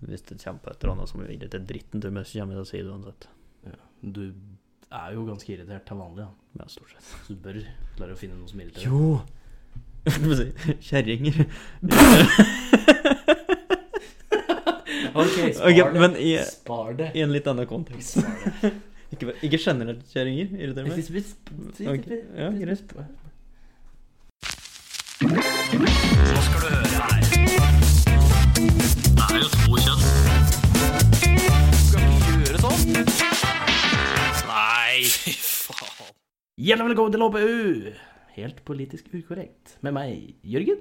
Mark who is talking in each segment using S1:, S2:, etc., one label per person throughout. S1: Hvis det kommer på et eller annet som vil til dritten til meg, så kommer jeg til å si det uansett.
S2: Du er jo ganske irritert til vanlig, da.
S1: Ja, stort sett.
S2: Så du bør klare å finne noe som irriterer.
S1: Jo! Hva skal jeg si? Kjerringer.
S2: OK, spar
S1: Ok,
S2: det.
S1: men i-
S2: Spar det.
S1: I en litt annen kontekst.
S2: Spar det.
S1: Ikke, ikke generelt kjerringer, irriterer meg.
S2: Hvis- hvis- hvis-
S1: Ok,
S2: hvis-
S1: ja,
S2: hvis-
S1: greit.
S2: sånn? Nei, fy faen. Hjertelig velkommen til HPU! Helt politisk ukorrekt. Med meg, Jørgen.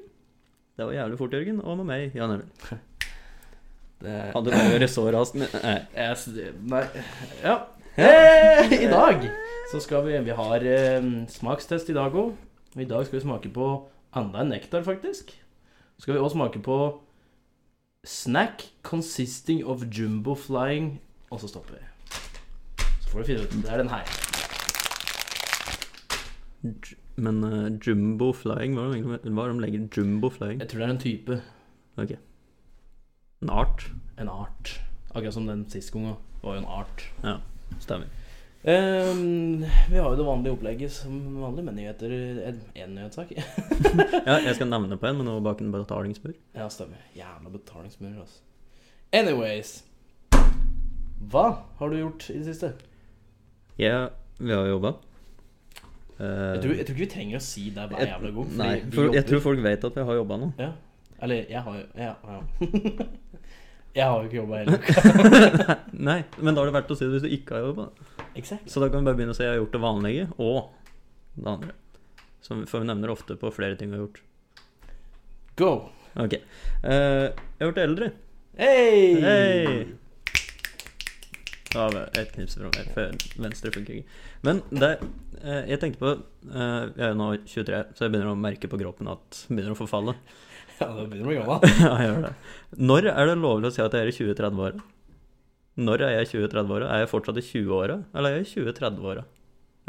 S1: Det var jævlig fort, Jørgen. Og med meg, Jan Emil.
S2: Det
S1: Hadde bare så raskt men- Nei.
S2: Jeg s- Nei Ja. Eh, I dag så skal vi Vi har eh, smakstest i dag òg. Og i dag skal vi smake på enda en nektar, faktisk. Så skal vi òg smake på snack consisting of jumbo flying, og så stopper vi. Så får du finne ut. Det er den her.
S1: J- Men eh, jumbo flying, hva er det egentlig hva er det de legger jumbo flying?
S2: Jeg tror det er en type,
S1: Ok. En art.
S2: en art. Akkurat som den sist gangen var jo en art.
S1: Stemmer.
S2: Ehm, vi har jo det vanlige opplegget som vanlig, med nyheter. Én nyhetssak.
S1: Ja, jeg skal nevne på en, men nå bak en betalingsmur.
S2: Ja, stemmer. Jævla betalingsmurer, altså. Anyways. Hva har du gjort i det siste?
S1: Jeg, vi har jobba. Eh,
S2: Jeg tror, jeg tror ikke vi trenger å si det hver
S1: jeg-
S2: jævla gang. fordi
S1: Nei,
S2: vi
S1: for jeg
S2: jobber.
S1: tror folk vet at jeg har jobba nå.
S2: Ja. Eller, jeg har jo ja, ja. Jeg har jo ikke jobba heller.
S1: Nei, men da er det verdt å si det hvis du ikke har jobba.
S2: Exakt.
S1: Så da kan vi bare begynne å si jeg har gjort det vanlige, og det andre. Som, for vi nevner ofte på flere ting vi har gjort.
S2: Go!
S1: Ok. Eh, jeg har vært eldre.
S2: Hei!
S1: Hei! Ja, et knips fra meg, for venstre funker ikke. Men det eh, Jeg tenkte på eh, Jeg er jo nå 23, så jeg begynner å merke på kroppen at jeg begynner å forfalle.
S2: Ja, da begynner du å bli gammel.
S1: ja, jeg gjør det. Når er det lovlig å si at jeg er i 20-30-åra? Når er jeg i 20-30-åra? Er jeg fortsatt i 20-åra, eller er jeg i 20-30-åra?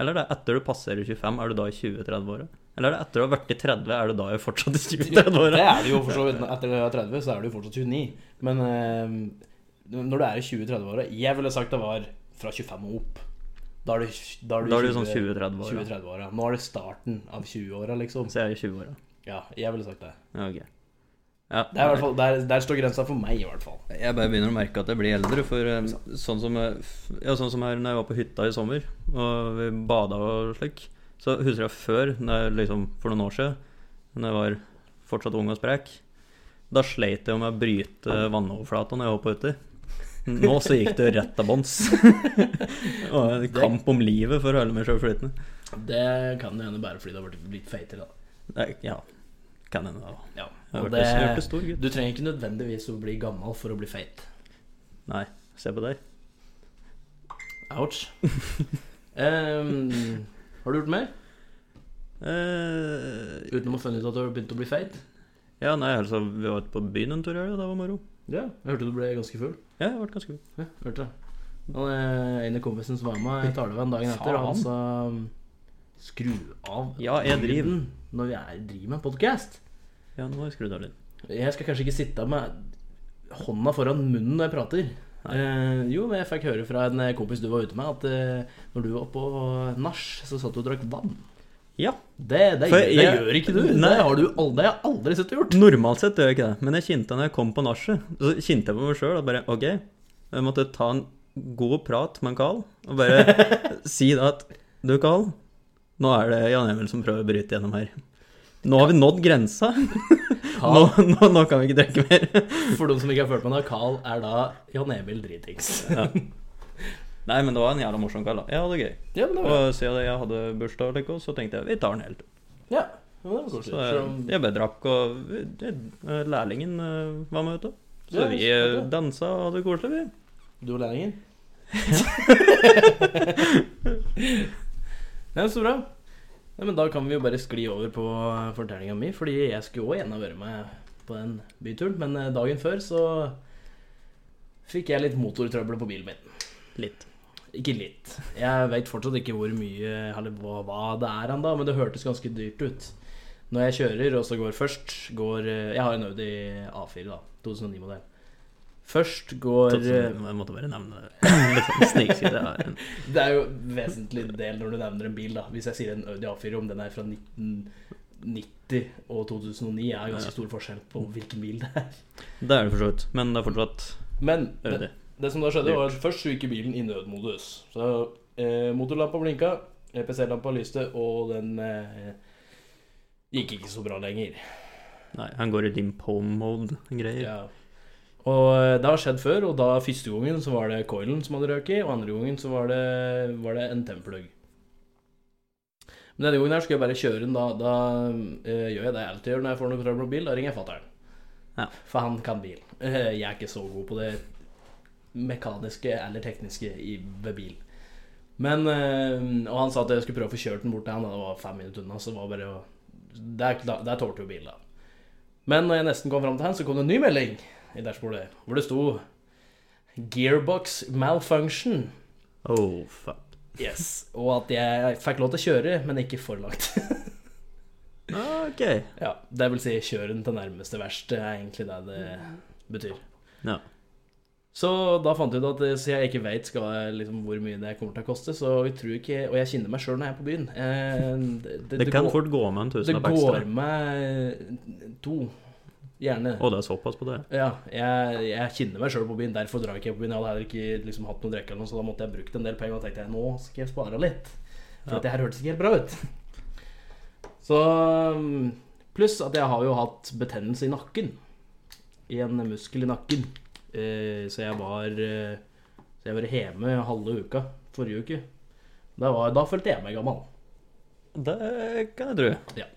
S1: Eller er det etter du passerer 25, er du da i 20-30-åra? Eller er det etter du har vært i 30, er du da i fortsatt i
S2: Det
S1: 20-30-åra?
S2: er du jo for så vidt. Etter du er 30, så er du jo fortsatt 29. Men eh, når du er i 20-30-åra Jeg ville sagt det var fra 25 og opp. Da er du, da er du,
S1: Da er du sånn
S2: 20
S1: 20-30-åra.
S2: 20-30-åra. Nå er det starten av 20-åra, liksom.
S1: Så jeg er i 20-åra.
S2: Ja, jeg ville sagt det.
S1: Ja, ok. Ja,
S2: det er i hvert fall, der, der står grensa for meg, i hvert fall.
S1: Jeg bare begynner å merke at jeg blir eldre. For eh, sånn som, jeg- ja, sånn som her når jeg var på hytta i sommer, og vi bada og slik, så husker jeg før, når jeg, liksom, for noen år siden, når jeg var fortsatt ung og sprek, da sleit jeg med å bryte vannoverflata når jeg hoppa uti. Nå så gikk det rett til bånns. Og en kamp om livet for å holde meg sjøl flytende.
S2: Det kan jo hende bare fordi du har blitt litt feitere, da.
S1: Nei, Ja, kan hende. da.
S2: Ja.
S1: Jeg
S2: Og
S1: hørte, jeg hørte
S2: det,
S1: stor gutt.
S2: du trenger ikke nødvendigvis å bli gammel for å bli feit.
S1: Nei, se på deg.
S2: Ouch. Ehm, har du gjort mer?
S1: Eh,
S2: Utenom å finne ut at du har begynt å bli feit?
S1: ja, nei, altså, vi var ute på byen en tur i helga, det var moro.
S2: Ja. Jeg hørte du ble ganske full.
S1: Ja, jeg ble ganske god.
S2: Ja, hørte det. Han eh, ene kompisen som var med, jeg talte med han dagen etter, og han
S1: Faen.
S2: sa Skru av
S1: Ja, jeg driver.
S2: lyden når vi er, driver med en podkast.
S1: Ja, nå har jeg skrudd av litt.
S2: Jeg skal kanskje ikke sitte med hånda foran munnen når jeg prater. Eh, jo, men jeg fikk høre fra en kompis du var ute med, at eh, når du var på nach, så satt du og drakk vann.
S1: Ja.
S2: Det, det,
S1: For
S2: gjør, det
S1: jeg-
S2: gjør ikke du.
S1: Nei.
S2: Det har du aldri, det har jeg aldri sett gjort.
S1: Normalt sett gjør jeg ikke det, men jeg kjente når jeg kom på nachet, så kjente jeg på meg sjøl at bare OK, jeg måtte ta en god prat med en Carl og bare si da at du, Carl, nå er det Jan Emil som prøver å bryte gjennom her. Nå har vi nådd grensa. Nå,
S2: Carl,
S1: nå, nå kan vi ikke drikke mer.
S2: for de som ikke har følt med det, Carl er da Jan Emil Dritings.
S1: Nei, men det var en jævla morsom Carl, da. Jeg hadde det gøy.
S2: Ja, men det var,
S1: Og siden jeg hadde bursdag, og like, så tenkte jeg vi tar den helt.
S2: ja, men det var koselig.
S1: Så
S2: Selv
S1: jeg,
S2: om-
S1: jeg bare drakk, og vi- det- lærlingen eh, var med, vet du. Så
S2: Ja,
S1: vi
S2: så
S1: eh,
S2: bra.
S1: dansa og hadde det koselig, vi.
S2: Du og lærlingen? Ja, så bra. Nei, men da kan vi jo bare skli over på eh, fortellinga mi, fordi jeg skulle òg gjerne vært med på den byturen, men eh, dagen før så fikk jeg litt motortrøbbel på bilen min.
S1: Litt.
S2: Ikke litt. Jeg veit fortsatt ikke hvor mye eller hva, hva det er ennå, men det hørtes ganske dyrt ut. Når jeg kjører, og så går først går eh, Jeg har en Audi A4, da. 2009-modell. Først går eh,
S1: Tatt som- Jeg måtte bare nevne det. Liksom, Snikside er en
S2: Det er jo en vesentlig del når du nevner en bil, da. Hvis jeg sier en Audi A4, om den er fra 1990 og 2009, er jo ganske stor forskjell på hvilken bil det er.
S1: Det er det for så vidt, men det er fortsatt
S2: Men det,
S1: øde.
S2: det som da skjedde, var at først så gikk jo bilen i nødmodus. Så eh, motorlampa blinka, EPC-lampa lyste, og den eh, gikk ikke så bra lenger.
S1: Nei, han går i limp home-mode-greier.
S2: Ja. Og eh, det har skjedd før, og da første gangen så var det coilen som hadde røket, og andre gangen så var det, var det en templug. Men denne gangen her skal jeg bare kjøre den, da, da eh, gjør jeg det jeg alltid gjør når jeg får noe trøbbel med bil, da ringer jeg fatter'n.
S1: Ja.
S2: For han kan bil. Eh, jeg er ikke så god på det mekaniske eller tekniske i, ved bil. Men, eh, og han sa at jeg skulle prøve å få kjørt den bort til han, da det var fem minutter unna, så det var bare å Der, der tålte jo bilen, da. Men når jeg nesten kom fram til han, så kom det en ny melding i dashbordet, hvor det sto 'Gearbox malfunction'.
S1: Oh, fuck.
S2: Yes. Og at jeg fikk lov til å kjøre, men ikke for langt.
S1: Ok.
S2: ja, det vil si kjøre den til nærmeste verst, er egentlig det det betyr.
S1: Ja.
S2: Så da fant jeg ut at eh, siden jeg ikke veit liksom, hvor mye det kommer til å koste, så jeg tror ikke Og jeg kjenner meg sjøl når jeg er på byen. Eh, det, det,
S1: Det kan
S2: går,
S1: fort gå med en
S2: det
S1: tusenlapp
S2: går
S1: ekstra.
S2: med to. Gjerne.
S1: Å, det er såpass på det?
S2: Ja, jeg, jeg kjenner meg sjøl på byen, derfor drar ikke jeg på byen. Jeg hadde heller ikke liksom, hatt noe drikke, eller noe, så da måtte jeg brukt en del penger. Og tenkte jeg, nå skal jeg spare litt. For
S1: Ja.
S2: at det her hørtes ikke helt bra ut. Så mm, Pluss at jeg har jo hatt betennelse i nakken. I en muskel i nakken. Eh, så jeg var eh, Så jeg var hjemme halve uka forrige uke. Da, var, da følte jeg meg gammel.
S1: Det kan jeg tro.
S2: Ja.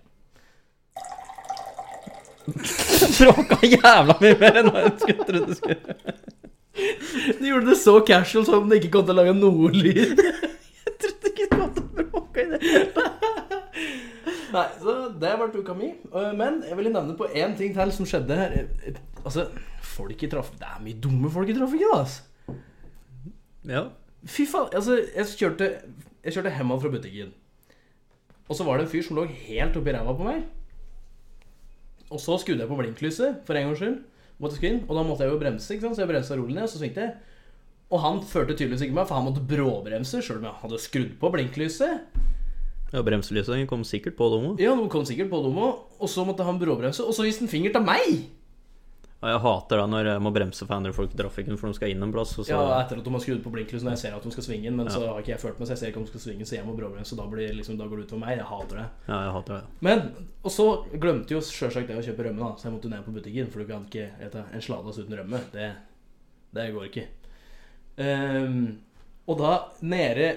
S1: Bråka jævla mye mer enn jeg skulle trodd du skulle.
S2: Du gjorde det så casual som om det ikke kom til å lage noe lyd.
S1: Jeg trodde ikke du hadde bråka i det.
S2: Nei, så det har vært uka mi. Eh, Men jeg ville nevne på én ting til som skjedde her. Eh, eh, Altså, folk i trafikken Det er mye dumme folk i trafikken, altså.
S1: Ja.
S2: Fy faen. Altså, jeg kjørte, jeg kjørte hjemme fra butikken. Og så var det en fyr som lå helt oppi ræva på meg. Og så skrudde jeg på blinklyset for en gangs skyld. Måtte skru inn, og da måtte jeg jo bremse, ikke sant? så jeg bremsa rolig ned, og så svingte jeg. Og han førte tydeligvis ikke meg, for han måtte bråbremse, sjøl om jeg hadde skrudd på blinklyset.
S1: ja bremselysene kom sikkert på dem òg.
S2: Ja, nå kom sikkert på dem også, og så måtte han bråbremse, og så viste han finger til meg!
S1: Og jeg hater det når jeg må bremse for andre folk i trafikken, for de skal inn en plass. Og så...
S2: Ja, etter at de har skrudd på blinklyset når jeg ser at de skal svinge inn, men så har ikke jeg følt meg, så jeg ser ikke om de skal svinge, så jeg må bråbremse, så da, blir, det liksom, da går det utover meg. Jeg hater det.
S1: ja, jeg hater det.
S2: Men, og så glemte jo sjølsagt jeg å kjøpe rømme, da, så jeg måtte ned på butikken, for du kan ikke ete en sladas uten rømme. Det, det går ikke. Ehm, og da, nede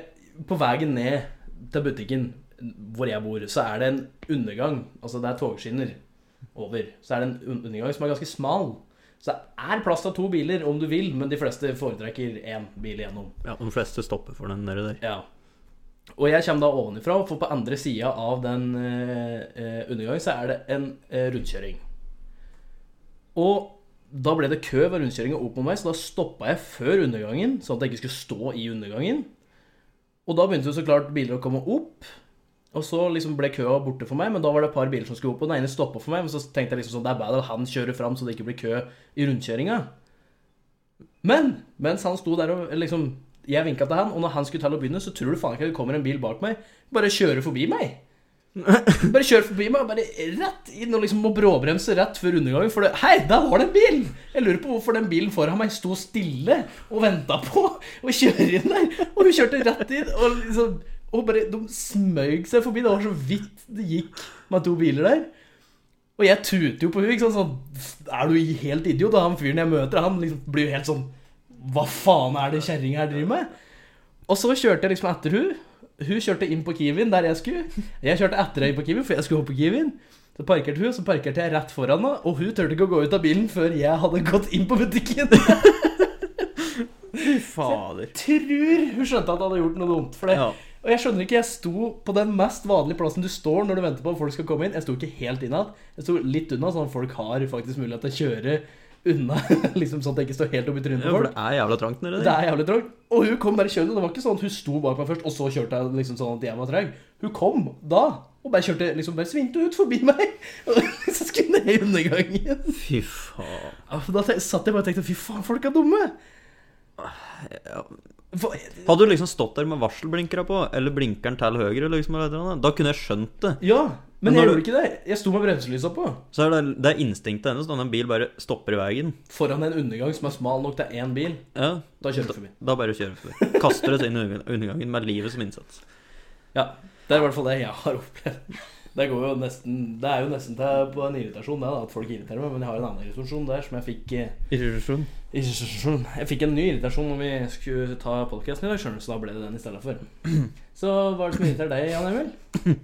S2: på veien ned til butikken hvor jeg bor, så er det en undergang. Altså, det er togskinner over. Så er det en un- undergang som er ganske smal. Så det er plass til to biler om du vil, men de fleste foretrekker én bil igjennom.
S1: Ja, de fleste stopper for den nedi der.
S2: Ja. Og jeg kommer da ovenifra, for på andre sida av den eh, eh, undergangen så er det en eh, rundkjøring. Og da ble det kø ved rundkjøringa opp mot meg, så da stoppa jeg før undergangen, sånn at jeg ikke skulle stå i undergangen. Og da begynte jo så klart biler å komme opp. Og så liksom ble køa borte for meg, men da var det et par biler som skulle opp. Og den ene stoppa for meg, men så tenkte jeg liksom sånn, det er bedre at han kjører fram, så det ikke blir kø i rundkjøringa. Men mens han sto der og liksom Jeg vinka til han, og når han skulle til å begynne, så tror du faen ikke det kommer en bil bak meg. Bare kjører forbi meg. Bare kjører forbi meg, bare rett inn og liksom må bråbremse rett før undergangen. For det, hei, der var det en bil! Jeg lurer på hvorfor den bilen foran meg sto stille og venta på å kjøre inn der. Og hun kjørte rett inn, og liksom Og bare De smøg seg forbi. Det var så vidt det gikk med to biler der. Og jeg tute jo på henne, ikke sant, sånn, er du helt idiot? Og han fyren jeg møter, han liksom blir jo helt sånn, hva faen er det kjæringa her driver med? Og så kjørte jeg liksom etter hun, hun kjørte inn på Kiwin der jeg skulle, jeg kjørte etter henne inn på Kiwin, for jeg skulle opp på Kiwin, så parkerte hun, så parkerte jeg rett foran henne, og hun tørte ikke å gå ut av bilen før jeg hadde gått inn på butikken. Jeg
S1: Fader.
S2: tror hun skjønte at jeg hadde gjort noe dumt for det.
S1: Ja.
S2: Og jeg skjønner ikke, jeg sto på den mest vanlige plassen du står når du venter på at folk skal komme inn. Jeg sto ikke helt innad. Jeg sto litt unna, sånn at folk har faktisk mulighet til å kjøre unna, liksom sånn at jeg ikke står helt opp i trynet
S1: Ja,
S2: på
S1: for
S2: folk.
S1: det er jævla trangt nedi
S2: Det
S1: der.
S2: er jævlig trangt. Og hun kom bare kjørende. Det var ikke sånn at hun sto bak meg først, og så kjørte jeg liksom sånn at jeg var treg. Hun kom da, og bare kjørte liksom bare svingte ut forbi meg. Og så skulle hun ned i undergangen.
S1: Fy faen.
S2: Ja, for Da te- satt jeg bare og tenkte fy faen, folk er dumme.
S1: Ah,
S2: For,
S1: Hadde du liksom stått der med varselblinkere på, eller blinkeren til høyre, liksom, eller et eller annet, da kunne jeg skjønt det.
S2: ja,
S1: Men
S2: men jeg
S1: når
S2: gjorde ikke det. Jeg sto med bremselysa på.
S1: Så er det, det er instinktet hennes når en bil bare stopper i veien.
S2: Foran en undergang som er smal nok til én bil.
S1: Ja,
S2: Da kjører vi forbi.
S1: da bare kjører vi forbi. Kaster oss inn i under- undergangen med livet som innsats.
S2: Ja, Det er i hvert fall det jeg har opplevd. Det, går jo nesten, det er jo nesten til på en irritasjon, det, da, at folk irriterer meg. Men jeg har en annen irritasjon der som jeg fikk eh,
S1: Irritasjon.
S2: Irritasjon. Jeg fikk en ny irritasjon når vi skulle ta podkasten i dag, skjønner du, så da ble det den i stedet for. Så hva er det som irriterer deg, Jan Emil?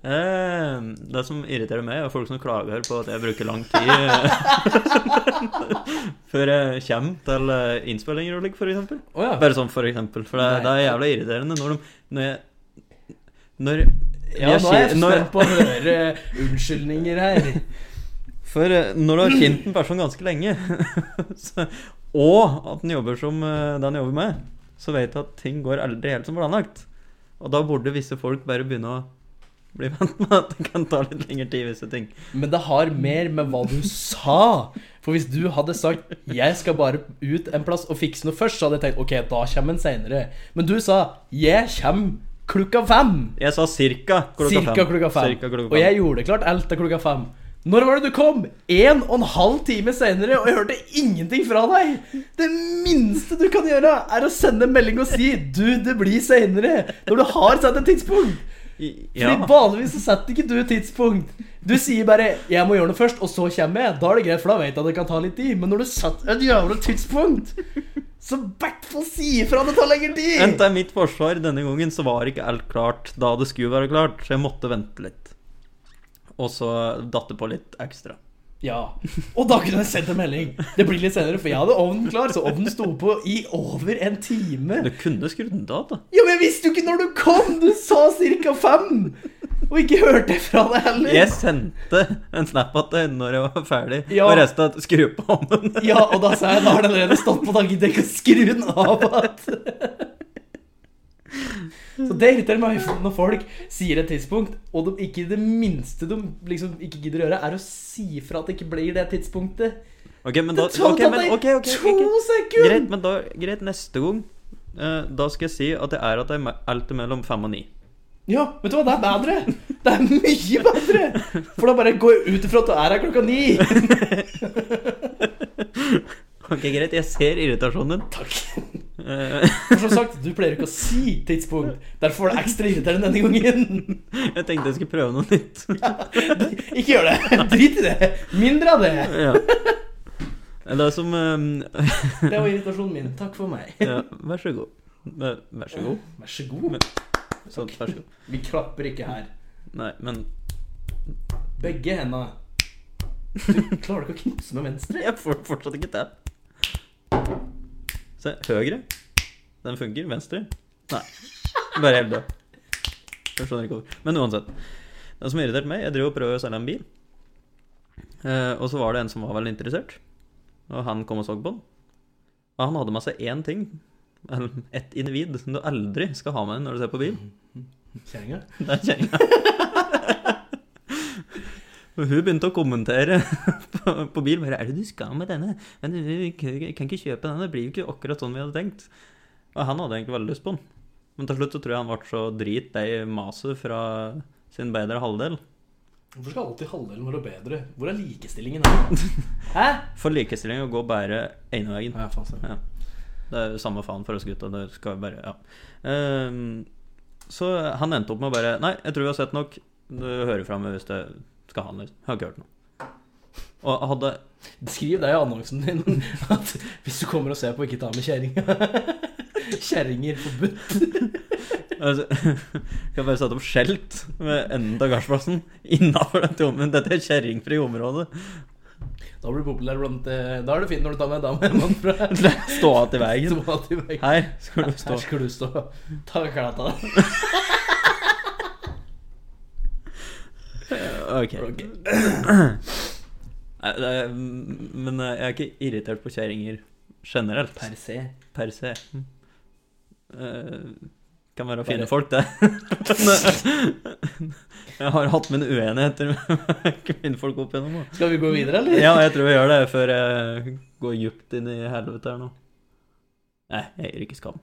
S1: Eh, det som irriterer meg, er folk som klager på at jeg bruker lang tid eh, før jeg kommer til eh, innspillinger og slikt, f.eks.
S2: Å ja.
S1: Bare sånn for eksempel, for det, det er jævla irriterende når de Når jeg Når
S2: ja. Nå er jeg
S1: når,
S2: spent på å høre unnskyldninger her.
S1: For eh, når du har kjent en person ganske lenge, så, og at den jobber som eh, den jobber med, så vet du at ting går aldri helt som planlagt. Og da burde visse folk bare begynne å bli vant med at det kan ta litt lengre tid, visse ting.
S2: Men det har mer med hva du sa. For hvis du hadde sagt 'jeg skal bare ut en plass og fikse noe først', så hadde jeg tenkt 'ok, da kommer en seinere'. Men du sa 'jeg kommer klokka fem'.
S1: Jeg sa cirka klokka
S2: Cirka
S1: fem.
S2: klokka fem.
S1: Cirka klokka
S2: Og
S1: fem.
S2: jeg gjorde klart alt til klokka fem. Når var det du kom? En og en halv time senere, og jeg hørte ingenting fra deg! Det minste du kan gjøre, er å sende en melding og si 'du, det blir seinere', når du har satt et tidspunkt.
S1: I-
S2: Fordi
S1: ja.
S2: vanligvis så setter ikke du et tidspunkt. Du sier bare 'jeg må gjøre noe først', og så kommer jeg. Da er det greit, for da vet jeg at det kan ta litt tid. Men når du setter et jævla tidspunkt, så i hvert fall si ifra at det tar lengre
S1: Men
S2: tid!
S1: til mitt forsvar denne gangen så var ikke alt klart da det skulle være klart, så jeg måtte vente litt. Og så datt det på litt ekstra.
S2: Ja. Og da kunne jeg sendt en melding. Det blir litt senere, for jeg hadde ovnen klar, så ovnen sto på i over en time.
S1: Du kunne skrudd den av, da.
S2: Ja, men jeg visste jo ikke når du kom! Du sa ca. fem! Og ikke hørte jeg fra deg heller.
S1: Jeg sendte en snap at det når jeg var ferdig,
S2: Ja.
S1: og resten at skru på ovnen.
S2: Ja, og da sa jeg da har den allerede stått på, da gidder jeg ikke å skru den av igjen. Så det irriterer meg når folk sier et tidspunkt, og de, ikke det minste de liksom ikke gidder å gjøre, er å si fra at det ikke blir det tidspunktet.
S1: Ok, men da
S2: Det tar
S1: ok, men, ok, ok,
S2: to
S1: ok.
S2: sekunder!
S1: Greit, men da, greit, neste gang eh, Da skal jeg si at det er at det er me- alt mellom fem og ni.
S2: Ja, vet du hva, det er bedre! Det er mye bedre! For da bare går jeg ut ifra at du er her klokka ni.
S1: Ok, greit, jeg ser irritasjonen din.
S2: Takk.
S1: Eh,
S2: For som sagt, du pleier ikke å si tidspunkt. Derfor var det ekstra irriterende denne gangen.
S1: jeg tenkte jeg skulle prøve noe nytt.
S2: Ikke gjør det! Drit i det! Mindre av det!
S1: Ja. Det som eh,
S2: Det var irritasjonen min. Takk for meg.
S1: ja, Vær så god. Eh, Vær så god.
S2: Vær så god.
S1: Sånn, vær så god.
S2: Vi klapper ikke her.
S1: Nei, men
S2: Begge henda. Du klarer du ikke å knipse med venstre?
S1: jeg får fortsatt ikke til. Se, høyre. Den funker. Venstre. Nei. Bare helt død. Jeg skjønner ikke hvorfor. Men uansett. Det som irriterte meg Jeg driver og prøver å selge en bil. Eh, og så var det en som var veldig interessert. Og han kom og så på den. Og han hadde med seg én ting. Eller ett individ som du aldri skal ha med deg når du ser på bil.
S2: Kjerringa?
S1: Det er kjerringa. Og hun begynte å kommentere på, på bil. Bare, 'Er det du skal med denne?' Men vi- vi kan ikke- kan ikke kjøpe denne. Det blir jo ikke akkurat sånn vi hadde tenkt. Og han hadde egentlig veldig lyst på den. Men til slutt så tror jeg han ble så dritlei maset fra sin bedre halvdel.
S2: Hvorfor skal alltid halvdelen være bedre? Hvor er likestillingen her? Hæ?
S1: For likestilling å gå bare ene veien.
S2: Ja, faen så.
S1: Ja. Det er jo samme faen for oss gutta. Det skal jo bare Ja. Ehm, så han endte opp med å bare Nei, jeg tror vi har sett nok. Du hører fra meg hvis det skal ha noe. Jeg har ikke hørt noe. Og hadde
S2: Skriv det i annonsen din at hvis du kommer og ser på, ikke ta med kjerringa. Kjerringer forbudt.
S1: altså, Skal bare sette opp skjelt ved enden av gardsplassen innafor dette området. Dette er kjerringfri område.
S2: Da blir du populær blant eh, Da er det fint når du tar med en dame hjemmefra.
S1: Stå att i veien.
S2: Som alltid vekk.
S1: Her skal du
S2: Her
S1: stå.
S2: skal du stå. Ta klærne av deg.
S1: Ok.
S2: Ok.
S1: Nei, det er, men jeg er ikke irritert på kjerringer generelt, per,
S2: Per se.
S1: se. Eh, kan være
S2: Bare-
S1: fine folk, det. Men, eh, jeg har hatt mine uenigheter med kvinnfolk opp igjennom. da.
S2: Skal vi gå videre, eller?
S1: Ja, jeg tror jeg gjør det før jeg går djupt inn i helvete her nå. Nei, jeg gir ikke skam.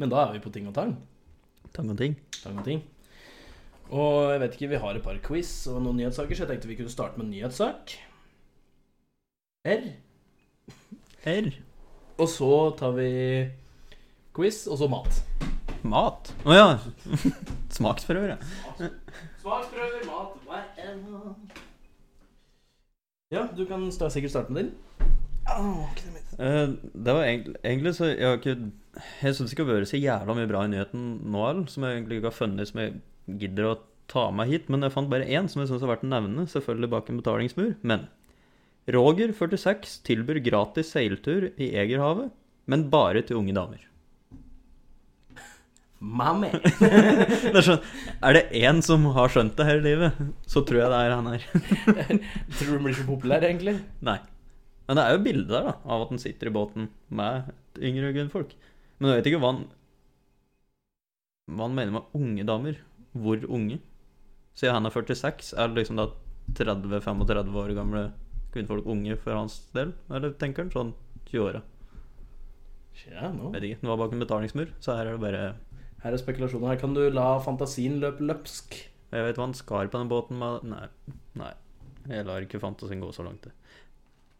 S2: Men da er vi på ting og tang.
S1: Tang og ting.
S2: Tang og ting. Og jeg vet ikke, vi har et par quiz og noen nyhetssaker, så jeg tenkte vi kunne starte med en nyhetssak. R.
S1: R.
S2: Og så tar vi quiz, og så mat.
S1: Mat. Å ja. Smaksprøver, ja.
S2: Smaksprøver, mat, hva enn Ja, du kan sta- sikkert starte med din. Åh, ikke det mitt.
S1: Eh, Det var egentlig, egentlig så Jeg har ikke Jeg syns ikke det har vært så jævla mye bra i nyheten nå, all, som jeg egentlig ikke har funnet som jeg gidder å ta med hit. Men jeg fant bare én som jeg syns har vært å nevne, selvfølgelig bak en betalingsmur. Men Roger, 46, tilbyr gratis seiltur i Egerhavet, men bare til unge damer.
S2: Mami.
S1: Det er, sånn, er det én som har skjønt det her i livet, så tror jeg det er han her.
S2: Tror du den blir så populær, egentlig?
S1: Nei. Men det er jo bilde der, da, av at han sitter i båten med et yngre kvinnfolk. Men jeg vet ikke hva han Hva han mener med unge damer. Hvor unge? Siden han er 46, er det liksom da 30-35 år gamle kvinnfolk unge for hans del? Eller tenker han sånn 20-åra?
S2: Ja, nå.
S1: Vet ikke. Det var bak en betalingsmur, så her er det bare
S2: Her er spekulasjoner. Her kan du la fantasien løpe løpsk.
S1: Jeg vet hva han skar på den båten med Nei. Nei. Jeg lar ikke fantasien gå så langt, det.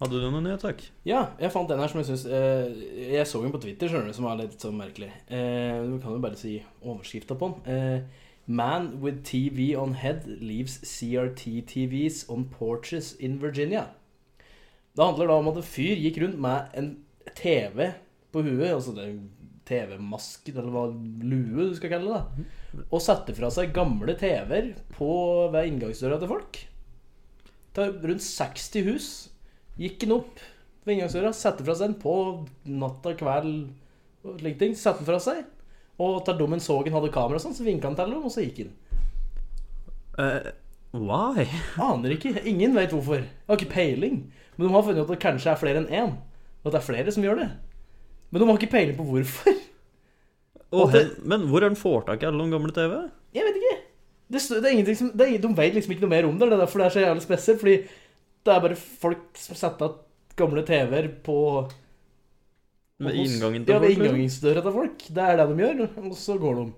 S1: Hadde du noen nyhetssak?
S2: Ja, jeg fant en her som jeg syns eh, Jeg så den på Twitter, skjønner du, som var litt sånn merkelig. Eh, du kan jo bare si overskrifta på den. Eh, Man with TV on head leaves CRT-TVs on porches in Virginia. Det handler da om at en fyr gikk rundt med en TV på huet, altså det er en TV-maske, eller hva lue du skal kalle det, da, og satte fra seg gamle TV-er på- ved inngangsdøra til folk. Det er rundt 60 hus. Gikk den opp ved inngangsdøra, setter fra seg den på natta, kveld og slike ting. Setter den fra seg. Og tar dommen så han hadde kamera og sånn, så vinka han til dem, og så gikk han.
S1: Uh, why?
S2: Aner ikke. Ingen vet hvorfor. Jeg har ikke peiling. Men de har funnet ut at det kanskje er flere enn én. Og at det er flere som gjør det. Men de har ikke peiling på hvorfor.
S1: Og
S2: Og det-
S1: hen- men hvor er den får tak i alle de gamle TV?
S2: Jeg vet ikke. Det, stø- det er ingenting som det er, De vet liksom ikke noe mer om det. Det er derfor det er så jævlig spesielt. Fordi det er bare folk som setter av gamle TV-er på
S1: Ved
S2: hos-
S1: inngangen
S2: ja,
S1: til
S2: ved
S1: folk? liksom?
S2: inngangsdøra til folk. Det er det de gjør, og så går de.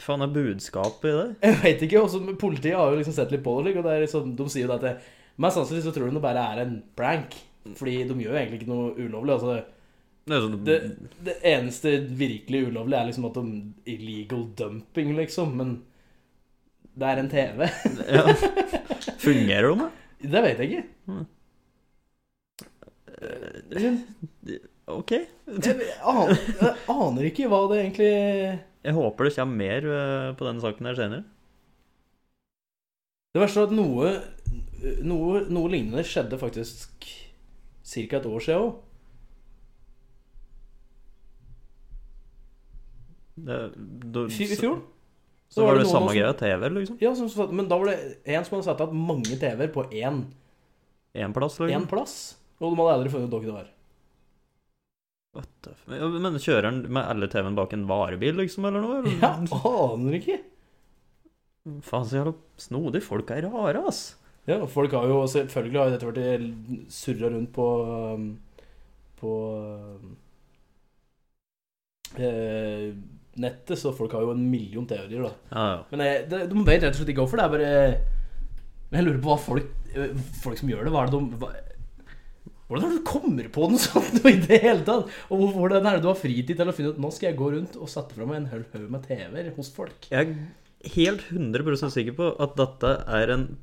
S1: Faen, er budskapet i det?
S2: Jeg vet ikke, også, men Politiet har jo liksom sett litt på det, slik, og det er liksom, de sier jo det at det, mest sannsynlig så tror de det bare er en prank. Fordi de gjør jo egentlig ikke noe ulovlig. altså.
S1: Det er sånn,
S2: Det, det eneste virkelig ulovlige er liksom at de illegal dumping, liksom. Men det er en TV.
S1: ja. Fungerer de, da?
S2: Det vet jeg ikke.
S1: Ok.
S2: Jeg aner, jeg aner ikke hva det egentlig
S1: Jeg håper det kommer mer eh, på den saken her senere.
S2: Det verste er at noe, noe, noe lignende skjedde faktisk ca. et år siden òg.
S1: Det- du-
S2: I fjor.
S1: Mm, Så, så var det,
S2: noen
S1: samme
S2: som-
S1: greia TV, liksom?
S2: Ja, sånn som, sagt, men da var det en som hadde satt opp mange TV-er på én,
S1: Én plass,
S2: én
S1: liksom?
S2: plass. Og de hadde aldri funnet ut hva det var.
S1: What the f- Ja, Men kjører han med alle TV-en bak en varebil, liksom, eller noe?
S2: Ja, aner ikke.
S1: Faen, så jævla snodig. Folk er rare, ass.
S2: Ja, og folk har jo selvfølgelig har jo dette vært surra rundt på um, På um, eh, nettet, så folk har jo en million teorier, da.
S1: Ja, ja.
S2: Men jeg, det, de vet rett og slett ikke hvorfor. Det er bare Men jeg lurer på hva folk, eh, folk som gjør det, hva er det de hva, Hvordan er det du kommer på noe sånt i det hele tatt? Og hvor- hvordan er det du har fritid til å finne ut Nå skal jeg gå rundt og sette fra meg en hel haug med TV-er hos folk.
S1: Jeg er helt 100 sikker på at dette er en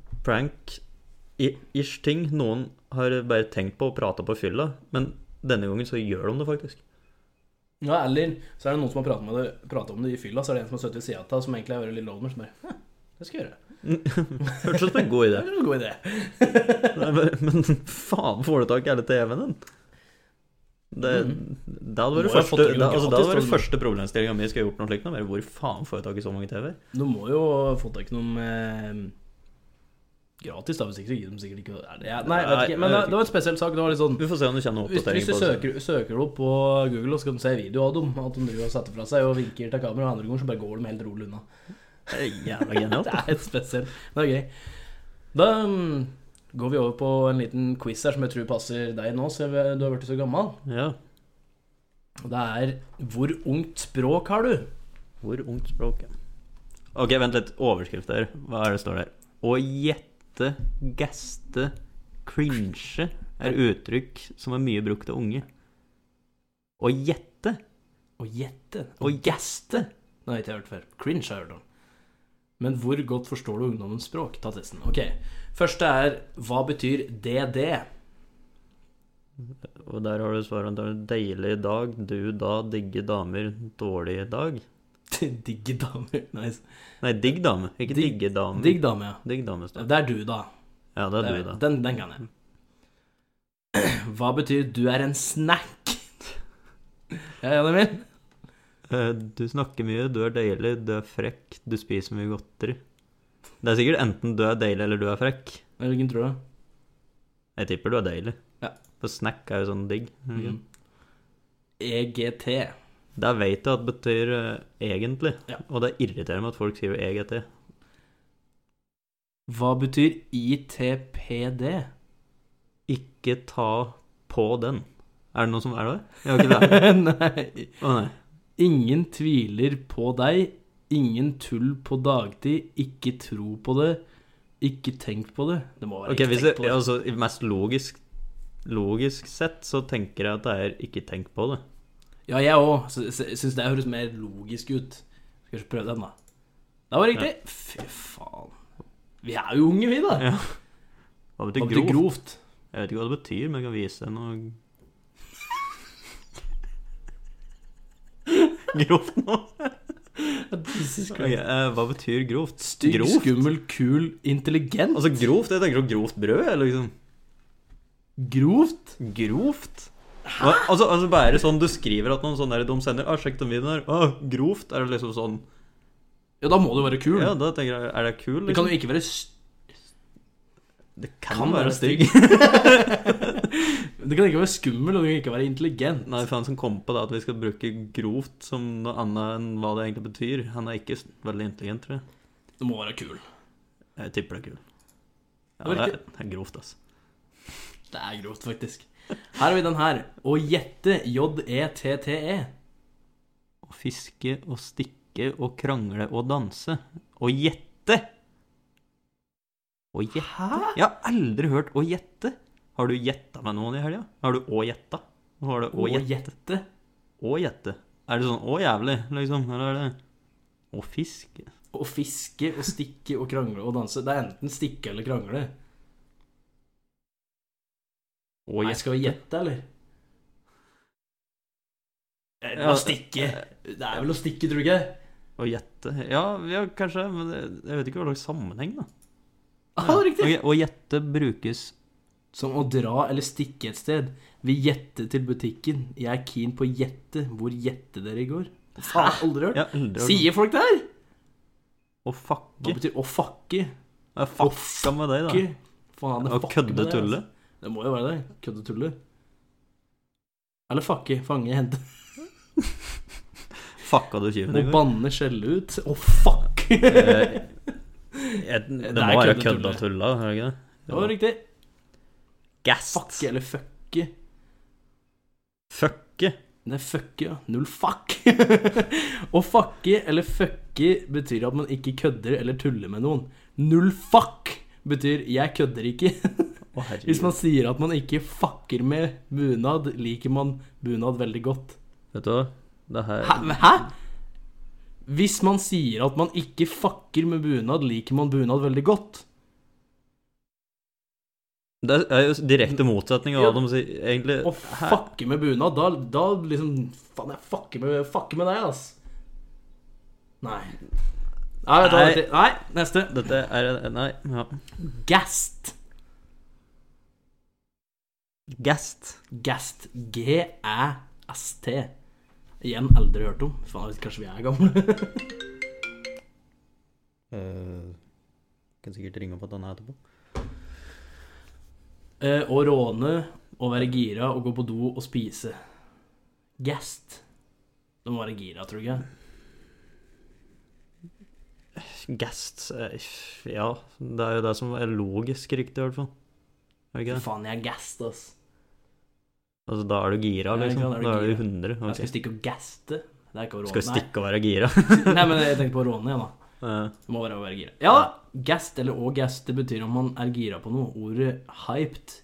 S1: prank-ish ting noen har bare tenkt på og prata på fylla, men denne gangen så gjør de det faktisk.
S2: Ja, eller så er det noen som har pratet, med det, pratet om det i fylla, så er det en som har sittet ved sida av deg, som egentlig har vært litt loner, som bare «Hæ, Det skal jeg gjøre.
S1: Hørtes ut som en god
S2: Det
S1: idé.
S2: er en god idé.
S1: Nei, bare- Men faen, får du tak i hele TV-en din? Det,
S2: Mhm.
S1: det hadde
S2: Må
S1: vært
S2: jo ha fått
S1: første,
S2: sånn- tak i
S1: det,
S2: noen
S1: altså, det hadde
S2: gratis,
S1: vært
S2: tror
S1: første problemstillinga mi. Skal jeg gjort noe slikt nå? Bare, Hvor faen får jeg tak i så mange TV-er?
S2: Du må jo få tak i noen eh, gratis, da, hvis ikke så gir de sikkert ikke er det. Nei, jeg vet ikke. Men
S1: Nei, jeg
S2: det,
S1: vet
S2: det var en spesiell sak. Det var litt sånn
S1: Vi får se om du kjenner
S2: Hvis, hvis
S1: oppdateringer
S2: du
S1: på det.
S2: søker, søker opp på Google, så kan du se video av dem. At de driver og setter fra seg og vinker til kamera, og andre ganger så bare går de helt rolig unna.
S1: Det er Jævla genialt.
S2: Det er helt spesielt. Det er gøy. Da mm, går vi over på en liten quiz her som jeg tror passer deg nå, siden du har blitt så gammel.
S1: Ja.
S2: Og Det er Hvor ungt språk har du?
S1: Hvor ungt språk er Ok, vent litt. Overskrift der. Hva er det står der? Å gjette, gaste, cringe er uttrykk som er mye brukt av unge. Å gjette
S2: Å gjette.
S1: Å gaste!
S2: Det har ikke jeg hørt før. Cringe har jeg hørt om. Men hvor godt forstår du ungdommens språk? Ta testen. Ok. Første er Hva betyr DD?
S1: Og der har du svaret. antakelig. Deilig dag, du da, digge damer, dårlig dag.
S2: Digg dame. Nice.
S1: Nei, digg dame, ikke
S2: Digg-
S1: digge dame.
S2: Digg dame, ja.
S1: Digg dame står det.
S2: Det er du, da.
S1: Ja, det er du, da.
S2: Den, den kan jeg. Hva betyr 'du er en snack'? Ja, Jan Emil?
S1: Eh, Du snakker mye, du er deilig, du er frekk, du spiser mye godteri. Det er sikkert enten du er deilig eller du er frekk.
S2: Hvilken tror du?
S1: Jeg tipper du er deilig.
S2: Ja.
S1: For snack er jo sånn digg. er det ikke?
S2: Mm. E EGT.
S1: Der vet jeg at det betyr eh, egentlig,
S2: Ja.
S1: og det irriterer meg at folk E skriver EGT.
S2: Hva betyr ITPD?
S1: Ikke ta på den. Er det noe som er det? Jeg har ikke lært.
S2: Nei.
S1: Å nei.
S2: Ingen tviler på deg. Ingen tull på dagtid. Ikke tro på det. Ikke tenk på det. Det må være
S1: Ok,
S2: ikke
S1: hvis
S2: tenk
S1: jeg,
S2: på det.
S1: altså, mest logisk, logisk sett så tenker jeg at det er ikke tenk på det.
S2: Ja, jeg òg syns det høres mer logisk ut. Skal ikke prøve den, da. Det var riktig. Fy faen. Vi er jo unge, vi, da.
S1: Ja. Hva betyr
S2: Hva
S1: grovt?
S2: betyr grovt?
S1: Jeg vet ikke hva det betyr, men jeg kan vise deg noe Grovt nå?
S2: Jesus
S1: Ok,
S2: Christ.
S1: eh, hva betyr grovt?
S2: Stygg,
S1: Grovt?
S2: skummel, kul, intelligent.
S1: Altså grovt, jeg tenker på grovt brød, jeg, liksom.
S2: Grovt?
S1: Grovt? Hva? Altså, altså bare sånn du skriver at noen sånne der de sender ah, 'Sjekk den videoen her.' Ah, 'Grovt?' Er det liksom sånn
S2: Ja, da må du være kul.
S1: Ja, da tenker jeg Er det kul?
S2: Det kan
S1: Liksom?
S2: jo ikke være st
S1: Det
S2: kan være Det kan ikke være skummel, og det kan ikke være intelligent.
S1: Nei, for han som kom på det at vi skal bruke grovt som noe annet enn hva det egentlig betyr Han er ikke s- veldig intelligent, tror jeg.
S2: Du må være kul.
S1: Jeg tipper det er kul. Ja,
S2: Det
S1: det
S2: var
S1: er, det er grovt, altså.
S2: Det er grovt, faktisk. Her har vi den her. Å gjette. E J-e-t-t-e.
S1: Å fiske og stikke og krangle og danse. Å gjette! Å gjette? Jeg har aldri hørt å gjette. Har du gjetta med noen i helga? Har du å gjetta? Har du å gjette?
S2: gjette.
S1: Å gjette? Er det sånn å jævlig, liksom? Eller er det å fiske?
S2: Å fiske og stikke og krangle og danse. Det er enten stikke eller krangle.
S1: Å
S2: Nei,
S1: gjette?
S2: skal vi gjette, eller? Eh,
S1: Ja,
S2: Å stikke. Det er vel å stikke, tror du ikke?
S1: Å gjette? Ja, ja, kanskje, men det- jeg vet ikke hva slags sammenheng, da.
S2: Ja, Ah, det er riktig.
S1: Ok, Å gjette brukes
S2: Som å dra eller stikke et sted. Vi gjette til butikken. Jeg er keen på å gjette hvor gjette dere går. Faen, aldri hørt.
S1: Jeg har aldri hørt
S2: Sier folk det her?
S1: Å
S2: Hva
S1: fucke?
S2: betyr å fucke?
S1: Jeg fucka med deg, da.
S2: Fucke? Faen, det
S1: Å
S2: fucker med
S1: kødde
S2: det,
S1: tulle?
S2: altså. Det må jo være det. Kødde tulle. Eller fucke, fange, hente.
S1: Fucka du tyven
S2: Å
S1: i går?
S2: banne, skjelle ut. Å fuck!
S1: Eh, jeg,
S2: Det
S1: det,
S2: er
S1: må være
S2: køddetull,
S1: kødda
S2: det.
S1: tulla, er det ikke det?
S2: Det var riktig.
S1: Gast.
S2: Fucke eller fucke.
S1: Fucke.
S2: Det er fucke, ja. Null fuck. Å fucke eller fucke betyr at man ikke kødder eller tuller med noen. Null fuck betyr 'jeg kødder ikke'.
S1: Å, herregud.
S2: Hvis man sier at man ikke fucker med bunad, liker man bunad veldig godt.
S1: Vet du hva? Det her
S2: Hæ? Hæ? Hvis man sier at man ikke fucker med bunad, liker man bunad veldig godt.
S1: Det er jo direkte motsetning av hva de sier, egentlig.
S2: Å
S1: Hæ?
S2: fucke med bunad, da, da liksom Faen, jeg fucker med, fucker med deg, ass. Nei. Nei, vet du hva,
S1: Nei.
S2: dette- Nei, neste.
S1: Dette er Nei. Ja.
S2: Gast.
S1: Gast.
S2: Gast. G-æ-s-t. Igjen aldri hørt om. Faen, jeg vet, kanskje vi er gamle.
S1: Eh, kan sikkert ringe opp at han er etterpå.
S2: Eh, Å råne, å være gira, å gå på do og spise. Gast. Du må være gira, tror jeg.
S1: Gast eh, Ja, det er jo det som er logisk riktig, i hvert fall. Er det ikke
S2: Fy
S1: det?
S2: faen, jeg er gast, ass.
S1: Altså, da er du gira,
S2: Ja, ikke
S1: liksom.
S2: sant, da er du
S1: Da er du
S2: gira.
S1: 100.
S2: Jeg skal
S1: ok.
S2: stikke og gaste. Det er ikke å
S1: Skal vi
S2: råne.
S1: stikke og være gira?
S2: Nei. Nei, men jeg tenkte på å råne, jeg, da.
S1: Eh,
S2: Det må være å være gira. Ja da! Gast eller å gast, det betyr om man er gira på noe. Ordet hyped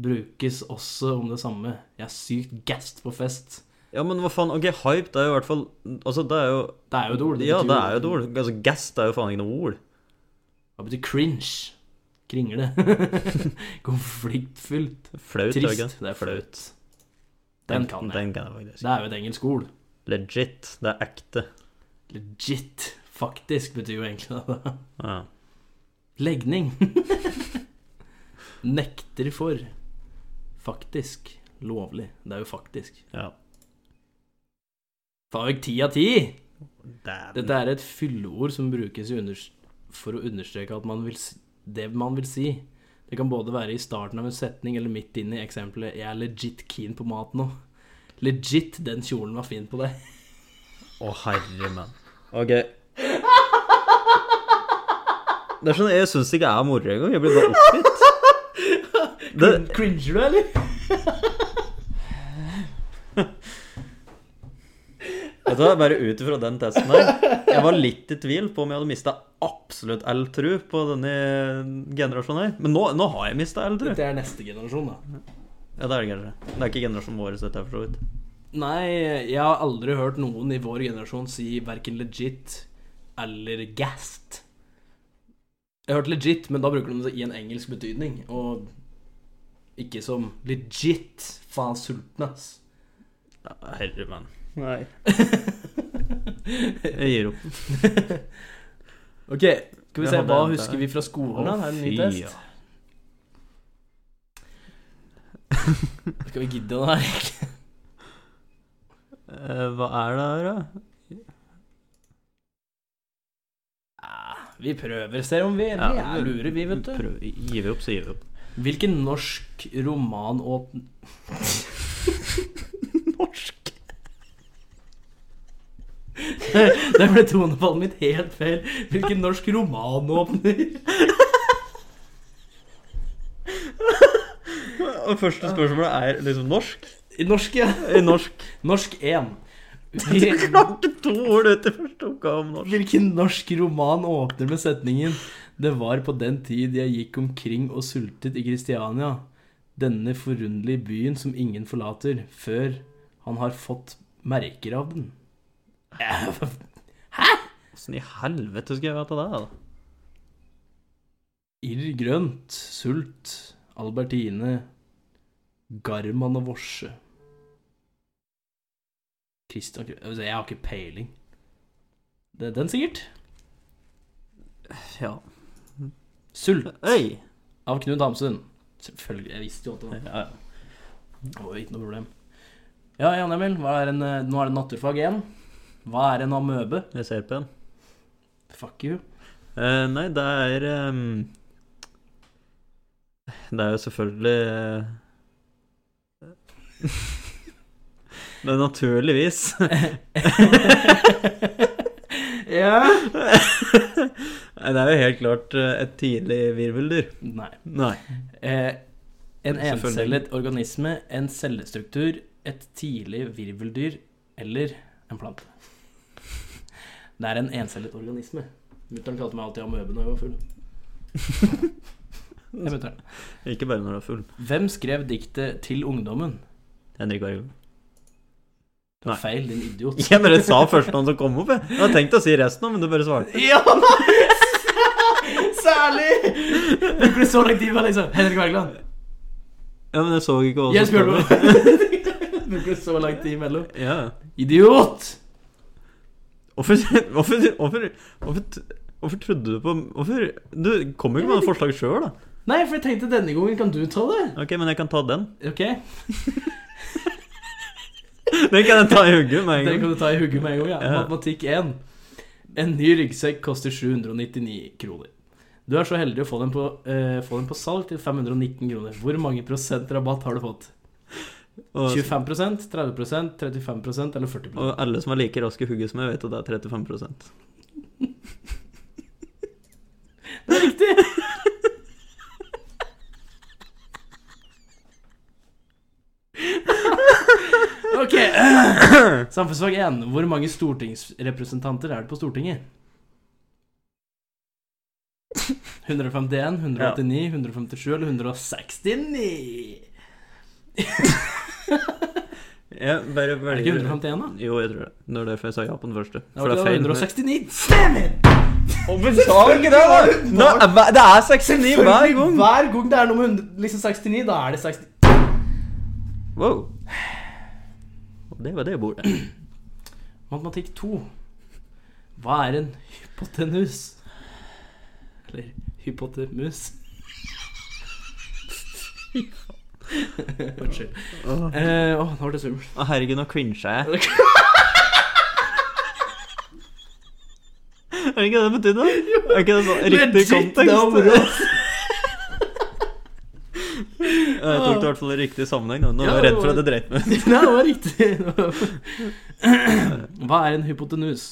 S2: brukes også om det samme. Jeg er sykt gast på fest.
S1: Ja, men hva faen, ok, hype, det er jo i hvert fall Altså, det er jo
S2: Det er jo et ord.
S1: Ja,
S2: betyr
S1: det er jo et ord. Altså, gast er jo faen ikke noe ord.
S2: Hva betyr cringe? Kringle. Konfliktfylt.
S1: Flaut, er det ikke?
S2: Trist. Det er flaut. Den kan jeg.
S1: Den kan jeg faktisk.
S2: Det er jo et engelsk ord.
S1: Legit. Det er ekte.
S2: Legit, faktisk, betyr jo egentlig det.
S1: Ja.
S2: Legning. Nekter for. Faktisk. Lovlig. Det er jo faktisk.
S1: ja.
S2: Faen vekk ti av ti!
S1: Dæven.
S2: Dette er et fylleord som brukes i unders- for å understreke at man vil s- det man vil si. Det kan både være i starten av en setning eller midt inne i eksempelet 'Jeg er legit keen på mat nå'. Legit, den kjolen var fin på deg.
S1: Å, herre mann. Ok. Det er sånn, Jeg syns det ikke er moro engang. Jeg blir bare oppgitt. Det,
S2: Cringer du, eller?
S1: vet du hva, Bare ut ifra den testen her Jeg var litt i tvil på om jeg hadde mista absolutt all tru på denne generasjonen her. Men nå, nå har jeg mista all tru.
S2: Dette er neste generasjon, da.
S1: Ja, det er det kanskje. Det er ikke generasjonen vår, så dette er for så vidt.
S2: Nei, jeg har aldri hørt noen i vår generasjon si verken legit eller gassed. Jeg har hørt legit, men da bruker de det i en engelsk betydning, og ikke som legit. Faen, sulten, ass.
S1: Ja, Herre mann. Nei. Jeg gir opp.
S2: Ok, skal vi se,
S1: Ja,
S2: hva
S1: det-
S2: husker vi fra skolen da?
S1: Å,
S2: Her er en ny
S1: fy,
S2: test. Skal vi gidde den her?
S1: Eh, Hva er det her, da?
S2: Ah, Vi prøver, ser om vi, vi
S1: Ja,
S2: er lure, vi, vet du.
S1: Prøv, gir vi opp, så gir vi opp.
S2: Hvilken norsk roman åp... norsk? Der ble tonefallet mitt helt feil. Hvilken norsk roman åpner?
S1: Og første spørsmålet er liksom norsk?
S2: I norsk, ja.
S1: I norsk.
S2: Norsk 1.
S1: Du klarte to ord ut i første oppgave om norsk.
S2: Hvilken norsk roman åpner med setningen Det var på den tid jeg gikk omkring og sultet i Kristiania, denne forunderlige byen som ingen forlater, før han har fått merker av den. Eh,
S1: Åssen i helvete skal jeg vite det? da?
S2: Irr grønt, sult, Albertine, Garman og Vorse. Christian Kr- altså, Jeg har ikke peiling. Det er den, sikkert.
S1: Ja.
S2: Sult
S1: Øy!
S2: av Knut Hamsun. Selvfølgelig. Jeg visste jo at det var
S1: Ja, ja.
S2: Det var jo ikke noe problem. Ja, Jan Emil, hva er en, eh, nå er det naturfag igjen. Hva er en amøbe?
S1: Jeg ser på den.
S2: Fuck you.
S1: Eh, nei, det er ehm, Det er jo selvfølgelig eh, Det er naturligvis
S2: ja.
S1: Nei, det er jo helt klart eh, et tidlig virveldyr.
S2: Nei.
S1: Nei.
S2: Eh, en
S1: Selvfølgelig.
S2: encellet organisme, en cellestruktur, et tidlig virveldyr eller en plante. Det er en encellet organisme. Mutter'n kalte meg alltid amøbe når jeg var full. Det er mutteren.
S1: Ikke bare når du er full.
S2: Hvem skrev diktet 'Til ungdommen'?
S1: Henrik Bergum.
S2: Det var
S1: Nei.
S2: feil, din idiot.
S1: Jeg bare sa førstemann som kom opp, jeg. Jeg hadde tenkt å si resten òg, men du bare svarte.
S2: Ja! Særlig! Du ble så lang tid på liksom Henrik Wergeland.
S1: Ja, men jeg så ikke hva
S2: Jeg
S1: som
S2: spør
S1: stod der.
S2: Du ble så lang tid imellom.
S1: Ja.
S2: Idiot!
S1: Hvorfor, hvorfor, hvorfor, hvorfor, hvorfor trodde du på Hvorfor Du kom jo ikke med noe forslag sjøl, da.
S2: Nei, for jeg tenkte denne gangen kan du ta det.
S1: Ok, men jeg kan ta den.
S2: Ok,
S1: Den kan jeg ta i hugget med
S2: Den
S1: en gang.
S2: kan du ta i hugget med en gang. Ja.
S1: Ja.
S2: Matematikk 1. En ny ryggsekk koster 799 kroner. Du er så heldig å få den på, eh, få den på salg til 519 kroner. Hvor mange prosent rabatt har du fått?
S1: Og,
S2: 25 30 35 eller 40
S1: og alle som er like raske i hugget som jeg, vet at det er 35
S2: Det er riktig! Ok. Samfunnsfag 1. Hvor mange stortingsrepresentanter er det på Stortinget? 151, 189, 157 eller 169?
S1: Jeg bare
S2: Er det
S1: velger
S2: ikke 151, da?
S1: Jo, jeg tror det. Det var derfor jeg sa ja på den første.
S2: Det var ikke
S1: feil.
S2: det, 169. Damn it!
S1: Hvorfor sa du ikke det, da? Nå, hva- det er 69 hver gang.
S2: Hver gang det er nummer 100, liksom 69, da er det 60.
S1: Wow. Og det var det bordet.
S2: Matematikk 2. Hva er en hypotenus? Eller hypotemus? Unnskyld.
S1: Åh.
S2: Eh, Åh, nå ble det skummelt.
S1: Å, herregud, nå crincha jeg. Er det ikke det det betydde? Er ikke det sånn riktig
S2: Legit, det var moro.
S1: kontekst? Jeg tok det i hvert fall i riktig sammenheng. da. Nå
S2: Ja,
S1: var jeg
S2: det
S1: redd for
S2: var-
S1: at det dreit meg ut.
S2: Nei, det var riktig. Hva er en hypotenus?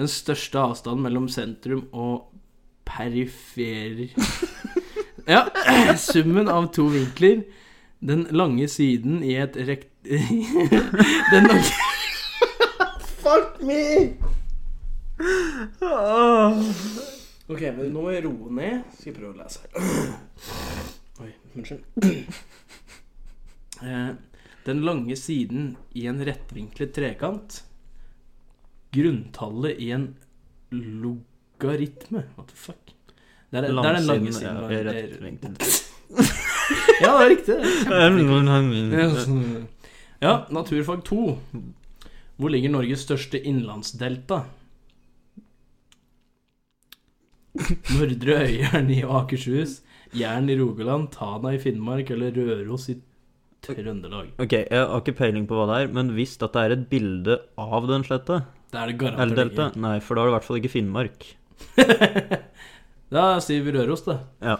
S2: Den største avstanden mellom sentrum og perifer... Ja, summen av to vinkler. Den lange siden i et rekt... Den lange Fuck me! Ok, men nå må jeg roe ned. Skal jeg prøve å lese her. Oi, unnskyld. Eh, Den lange siden i en rettvinklet trekant. Grunntallet i en logaritme. What the fuck? Det er, det er den lange
S1: Langsiden,
S2: siden. av
S1: ja,
S2: en-
S1: rett-
S2: ja, det er riktig. det.
S1: rett-
S2: Ja, sånn- naturfag 2. Hvor ligger Norges største innlandsdelta? Nordre Øyeren i Akershus, Jæren i Rogaland, Tana i Finnmark eller Røros i Trøndelag.
S1: Ok, jeg har ikke peiling på hva det er, men hvis dette er et bilde av den sletta,
S2: Der er det
S1: eller
S2: garantert
S1: delta, nei, for da er det i hvert fall ikke Finnmark.
S2: ikke. Da sier vi Røros, da.
S1: Ja.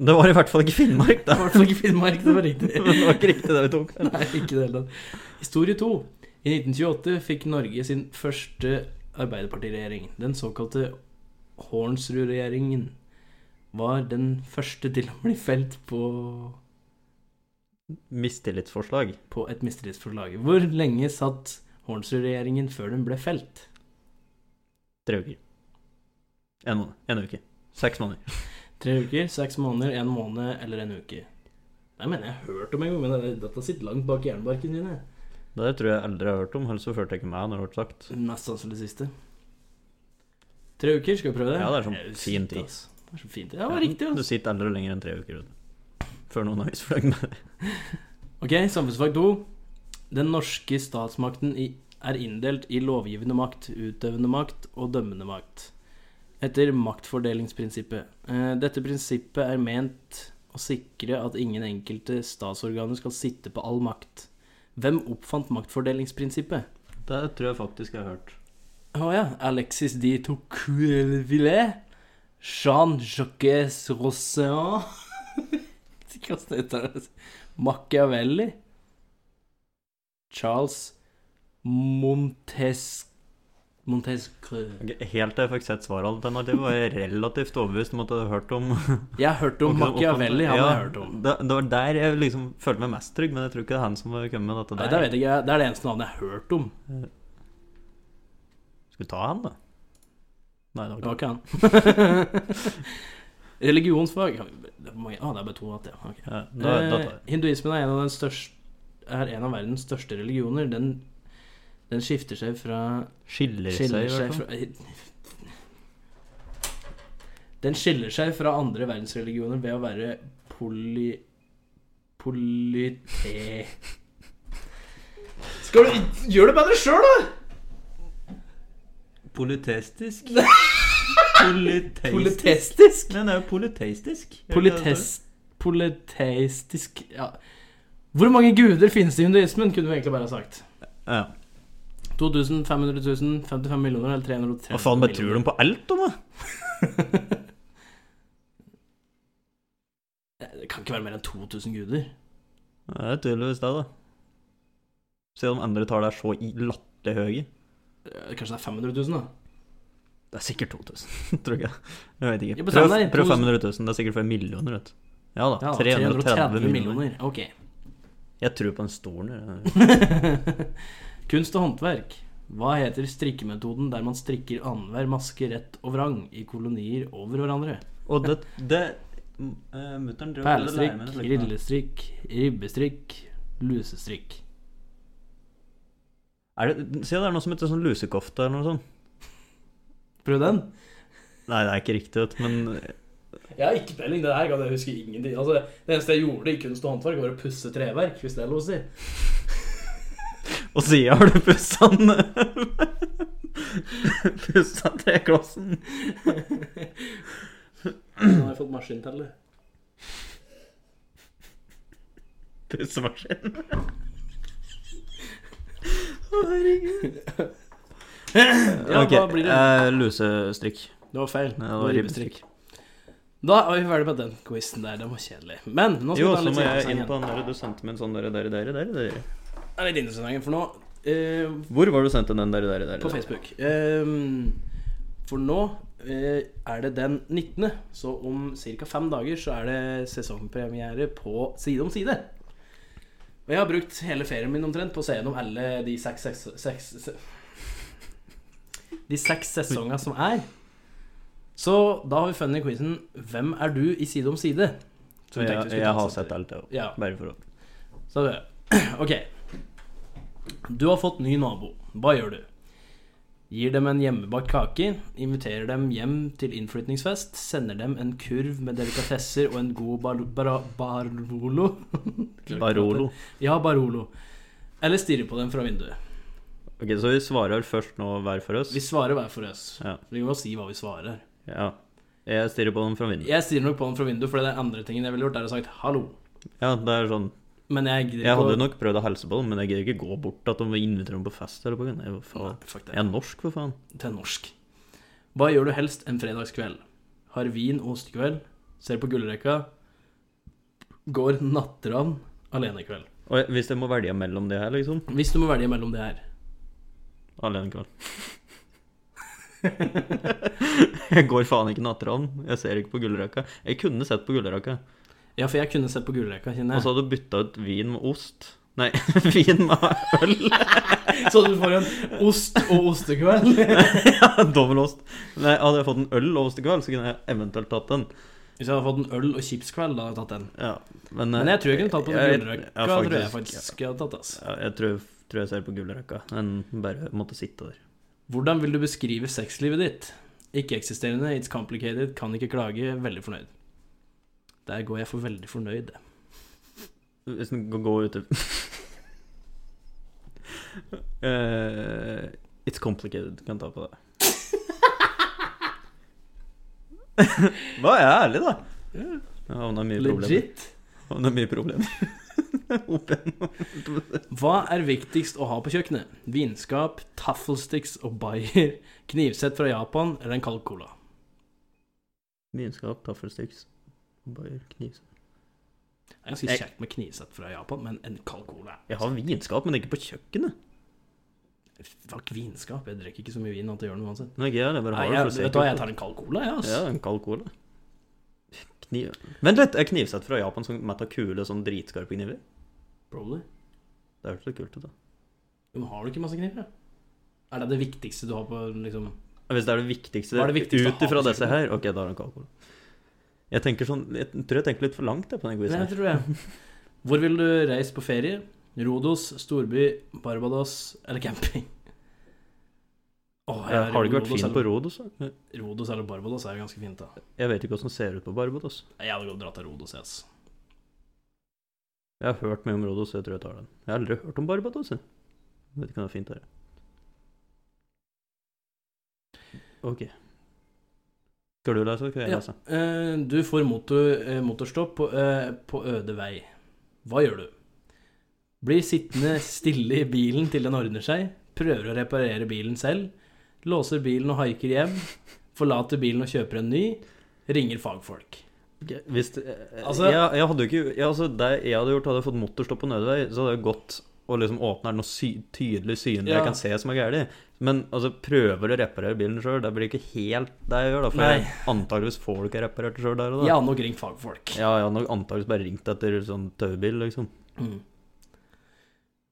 S1: Det var i hvert fall ikke Finnmark,
S2: Det
S1: da.
S2: er i hvert fall ikke Finnmark, det var riktig.
S1: Men det var ikke riktig det vi tok.
S2: Nei, ikke det hele tatt. Historie 2. I 1928 fikk Norge sin første arbeiderpartiregjering. Den såkalte Hornsrud-regjeringen var den første til å bli felt på,
S1: Mistillitsforslag.
S2: på et mistillitsforslag. Hvor lenge satt Hornsrud-regjeringen før den ble felt?
S1: Tre uker. En måned. En uke. Seks måneder.
S2: Tre uker, seks måneder, en måned eller en uke? Nei, mener jeg har hørt om en gang, men det- dette sitter langt bak i jernbarken din. jeg.
S1: Det der tror jeg aldri jeg har hørt om, ellers så førte jeg ikke meg når det ble sagt.
S2: Mest sannsynlig det siste. Tre uker, skal vi prøve det?
S1: Ja, det er sånn
S2: Jeg-
S1: fin tid.
S2: ass. Det er så fint. Ja, det var riktig. ass.
S1: Du sitter aldri lenger enn tre uker uten. Før noen har isflagg med det.
S2: Ok, samfunnsfag 2. Den norske statsmakten i, er inndelt i lovgivende makt, utøvende makt og dømmende makt. Etter maktfordelingsprinsippet. Eh, Dette prinsippet er ment å sikre at ingen enkelte statsorganer skal sitte på all makt. Hvem oppfant maktfordelingsprinsippet?
S1: Det tror jeg faktisk jeg har hørt.
S2: Å ja. Alexis de Tocqueville. Jean-Jacques Rossean. Ikke hva det heter. Machiavelli. Charles Montes... Montesquieu.
S1: Ok, Helt til jeg fikk sett svaralternativet, var jeg relativt overbevist om at jeg hadde hørt om
S2: Jeg har hørt om
S1: Ok,
S2: Machiavelli, han
S1: ja,
S2: har jeg hørt om.
S1: Det, det var der jeg liksom følte meg mest trygg, men jeg tror ikke det er han som har kommet med dette
S2: Nei,
S1: der.
S2: det vet jeg ikke. Det er det eneste navnet jeg har hørt om.
S1: Skal vi ta han, da? Nei, det var
S2: Det
S1: ikke
S2: var ikke han. Religionsfag. Det er mange- Å, det er bare to igjen, ja. Ok.
S1: ja, da, da tar
S2: Eh, Hinduismen er en, av den største, er en av verdens største religioner. Den, den skifter seg fra
S1: jeg Skiller seg, i
S2: skiller
S1: hvert
S2: seg
S1: fall.
S2: fra Den skiller seg fra andre verdensreligioner ved å være poly... Polite... Skal du Gjør det bedre sjøl, da!
S1: Politestisk?
S3: Polyteistisk.
S2: Politeistisk?
S3: Den er jo polyteistisk. Er det ikke det det står?
S2: Politeist, politeistisk ja. Hvor mange guder finnes det i hinduismen, kunne du egentlig bare ha sagt.
S3: Ja.
S2: 2000, 500 000, 55 millioner eller 330
S3: Hva faen, bare tror de på alt, om da?
S2: Det kan ikke være mer enn 2000 guder.
S3: Ja, Det er tydeligvis det, da. Selv om andre tall er så i- latterlig høye.
S2: Eh, Kanskje det er 500 000, da.
S3: Det er sikkert 2000, tror jeg. Jeg vet
S2: Ja,
S3: ikke.
S2: på
S3: Prøv,
S2: samme der,
S3: prøv
S2: 2000.
S3: 500 000. Det er sikkert 5 millioner, vet du. Ja da.
S2: Ja,
S3: 330,
S2: 330
S3: millioner.
S2: millioner. Ok.
S3: Jeg tror på en stolen. jeg.
S2: Kunst og håndverk. Hva heter strikkemetoden der man strikker annenhver maske rett og vrang i kolonier over hverandre?
S3: Og det, det uh, Mutter'n drev og lærte
S2: Perlestrikk,
S3: meg noe slikt.
S2: grillestrikk, ribbestrikk, lusestrikk.
S3: Er det, si at det er noe som heter sånn lusekofte eller noe sånt.
S2: Prøv den.
S3: Nei, det er ikke riktig, vet du, men
S2: Jeg har ikke peiling. Det her kan jeg huske ingenting. Altså, det eneste jeg gjorde i kunst og håndverk, var å pusse treverk, hvis det er lov å si.
S3: Og siden har du pussa den Pussa treklossen.
S2: Nå har jeg fått maskinteller.
S3: Pussemaskin.
S2: Ja,
S3: Ok,
S2: hva blir det?
S3: eh, lusestrikk.
S2: Det var feil.
S3: Ja,
S2: det var ribbestrikk. Da er vi ferdig med den quizen der. Den var kjedelig. Men nå skal
S1: Jo,
S2: vi ta
S1: så
S2: en litt
S1: må jeg
S2: interessant
S1: inn
S2: en.
S1: på den der du sendte med en sånn der, der, der, der, der.
S2: Det er litt interessant, igjen, for nå eh,
S1: Hvor var det du sendte den der, der, der?
S2: På
S1: der?
S2: Facebook. Ehm, for nå eh, er det den 19., så om ca. fem dager så er det sesongpremiere på Side om side. Og jeg har brukt hele ferien min omtrent på å se gjennom alle de seks, seks, seks, se- De seks sesongene som er. Så da har vi funnet quizen 'Hvem er du i Side om side?' som vi tenkte
S3: Jeg,
S2: vi skulle
S3: jeg
S2: ta
S3: har
S2: samtidig.
S3: sett alt, jeg.
S2: Ja.
S3: Bare for å
S2: Så det. Ok. Du har fått ny nabo. Hva gjør du? Gir dem en hjemmebakt kake, inviterer dem hjem til innflytningsfest, sender dem en kurv med delikatesser og en god bar bar barolo
S3: Barolo.
S2: Ja, barolo. Eller stirrer på dem fra vinduet.
S1: Ok, Så vi svarer først nå hver for oss?
S2: Vi svarer hver for oss.
S1: Ja.
S2: Vi må si hva vi svarer.
S1: Ja. Jeg stirrer på den fra vinduet.
S2: Jeg stirrer nok på dem fra vinduet, for det andre tingen jeg ville gjort, er å sagt 'hallo'.
S1: Ja, det er sånn
S2: Men jeg gidder
S1: Jeg
S2: ikke
S1: hadde
S2: å-
S1: nok prøvd å hilse på dem, men jeg gidder ikke gå bort at de inviterer dem på fest eller på grunn av
S2: Nei,
S1: faen.
S2: fuck det.
S1: Jeg er norsk, for faen.
S2: til norsk. Hva gjør du helst en fredagskveld? Har vin og ostekveld, ser på gullrekka, går natteravn alenekveld.
S1: Og jeg- hvis jeg må velge mellom det her, liksom
S2: Hvis du må velge mellom det her.
S1: Alenekveld. jeg går faen ikke natteravn. Jeg ser ikke på gullrekka. Jeg kunne sett på gullrekka.
S2: Ja, for jeg kunne sett på gullrekka, kjenner
S1: Og så
S2: jeg.
S1: hadde du bytta ut vin med ost. Nei, vin med øl.
S2: Så du får en ost og ostekveld.
S1: Dobbeltost. Nei, hadde jeg fått en øl over til kveld, så kunne jeg eventuelt tatt den.
S2: Hvis jeg hadde fått en øl og chipskveld, da hadde jeg tatt den.
S1: Ja, men, eh,
S2: Men jeg tror jeg kunne tatt på
S1: jeg-
S2: gullrekka.
S1: ja,
S2: tror jeg
S1: faktisk,
S2: faktisk jeg hadde tatt, ass.
S1: Ja, jeg tror, tror jeg ser på gullrekka. En bare måtte sitte der.
S2: Hvordan vil du beskrive sexlivet ditt? Ikke-eksisterende, it's complicated, kan ikke klage, veldig fornøyd. Der går jeg for veldig fornøyd.
S1: Hvis den går- går ut til Eh, It's complicated, kan ta på det. Hva er jeg ærlig, da? Jeg havna mye problemer.
S2: Legit.
S1: Havna mye problemer. Opp igjennom.
S2: Hva er viktigst å ha på kjøkkenet? Vinskap, taffelsticks og bayer, knivsett fra Japan eller en kald cola?
S1: Vinskap, taffelsticks, bayer, knivsett
S2: Det er ganske
S1: Jeg-
S2: kjekt med knivsett fra Japan, men en kald cola er
S1: Jeg har vinskap, men ikke på kjøkkenet.
S2: Fuck vinskap, jeg drikker ikke så mye vin at det gjør noe uansett.
S1: Nei, jeg, jeg bare
S2: Nei,
S1: har det for
S2: jeg,
S1: å se
S2: vet du hva, jeg tar en kald cola, jeg, ass.
S1: Ja, en kald cola. Kniv. Vent litt, er knivsett fra Japan som mett av kule, sånn dritskarpe kniver?
S2: Probably.
S1: Det hørtes litt kult ut, da.
S2: Men har du ikke masse kniver, da? Er det det viktigste du har på liksom
S1: Hvis det er det viktigste,
S2: Hva er det viktigste å
S1: ut
S2: ha
S1: ifra
S2: på
S1: disse
S2: kjøkkenet?
S1: her Ok, da er det en kald cola. Jeg tenker sånn Jeg tror jeg tenker litt for langt jeg, på den
S2: Nei,
S1: quizen. her.
S2: tror jeg. Hvor vil du reise på ferie? Rodos, storby, Barbados eller camping? Åh, jeg
S1: Eh, Har det ikke vært
S2: Rodos
S1: fint på
S2: eller-
S1: Rodos? da?
S2: Rodos eller Barbados er jo ganske fint, da.
S1: Jeg vet ikke hvordan det ser ut på Barbados.
S2: Jeg hadde gått og dratt til Rodos, jeg, ass.
S1: Jeg har hørt mye om Rodos, så jeg tror jeg tar den. Jeg har aldri hørt om Barbados. Jeg Jeg vet ikke om det er fint der. Ok. Skal du lese, eller skal jeg
S2: Ja.
S1: lese?
S2: Eh, Du får motor, eh, motorstopp på, eh, på øde vei. Hva gjør du? Blir sittende stille i bilen til den ordner seg. Prøver å reparere bilen selv. Låser bilen og haiker hjem. Forlater bilen og kjøper en ny. Ringer fagfolk.
S1: Ok, Hvis det, eh,
S2: Altså-
S1: jeg, jeg hadde jo ikke ja, altså, Det jeg hadde gjort, hadde jeg fått motorstopp på nødvei, så hadde jeg gått og liksom åpna noe sy tydelig synlig
S2: Ja.
S1: jeg kan se som er galt. Men altså, prøver å reparere bilen sjøl, det blir ikke helt det jeg gjør, da. For
S2: Nei.
S1: jeg- antageligvis får du ikke reparert det sjøl der og da.
S2: Jeg har nok ringt fagfolk.
S1: Ja, jeg hadde nok antageligvis bare ringt etter sånn taubil, liksom.
S2: Mm.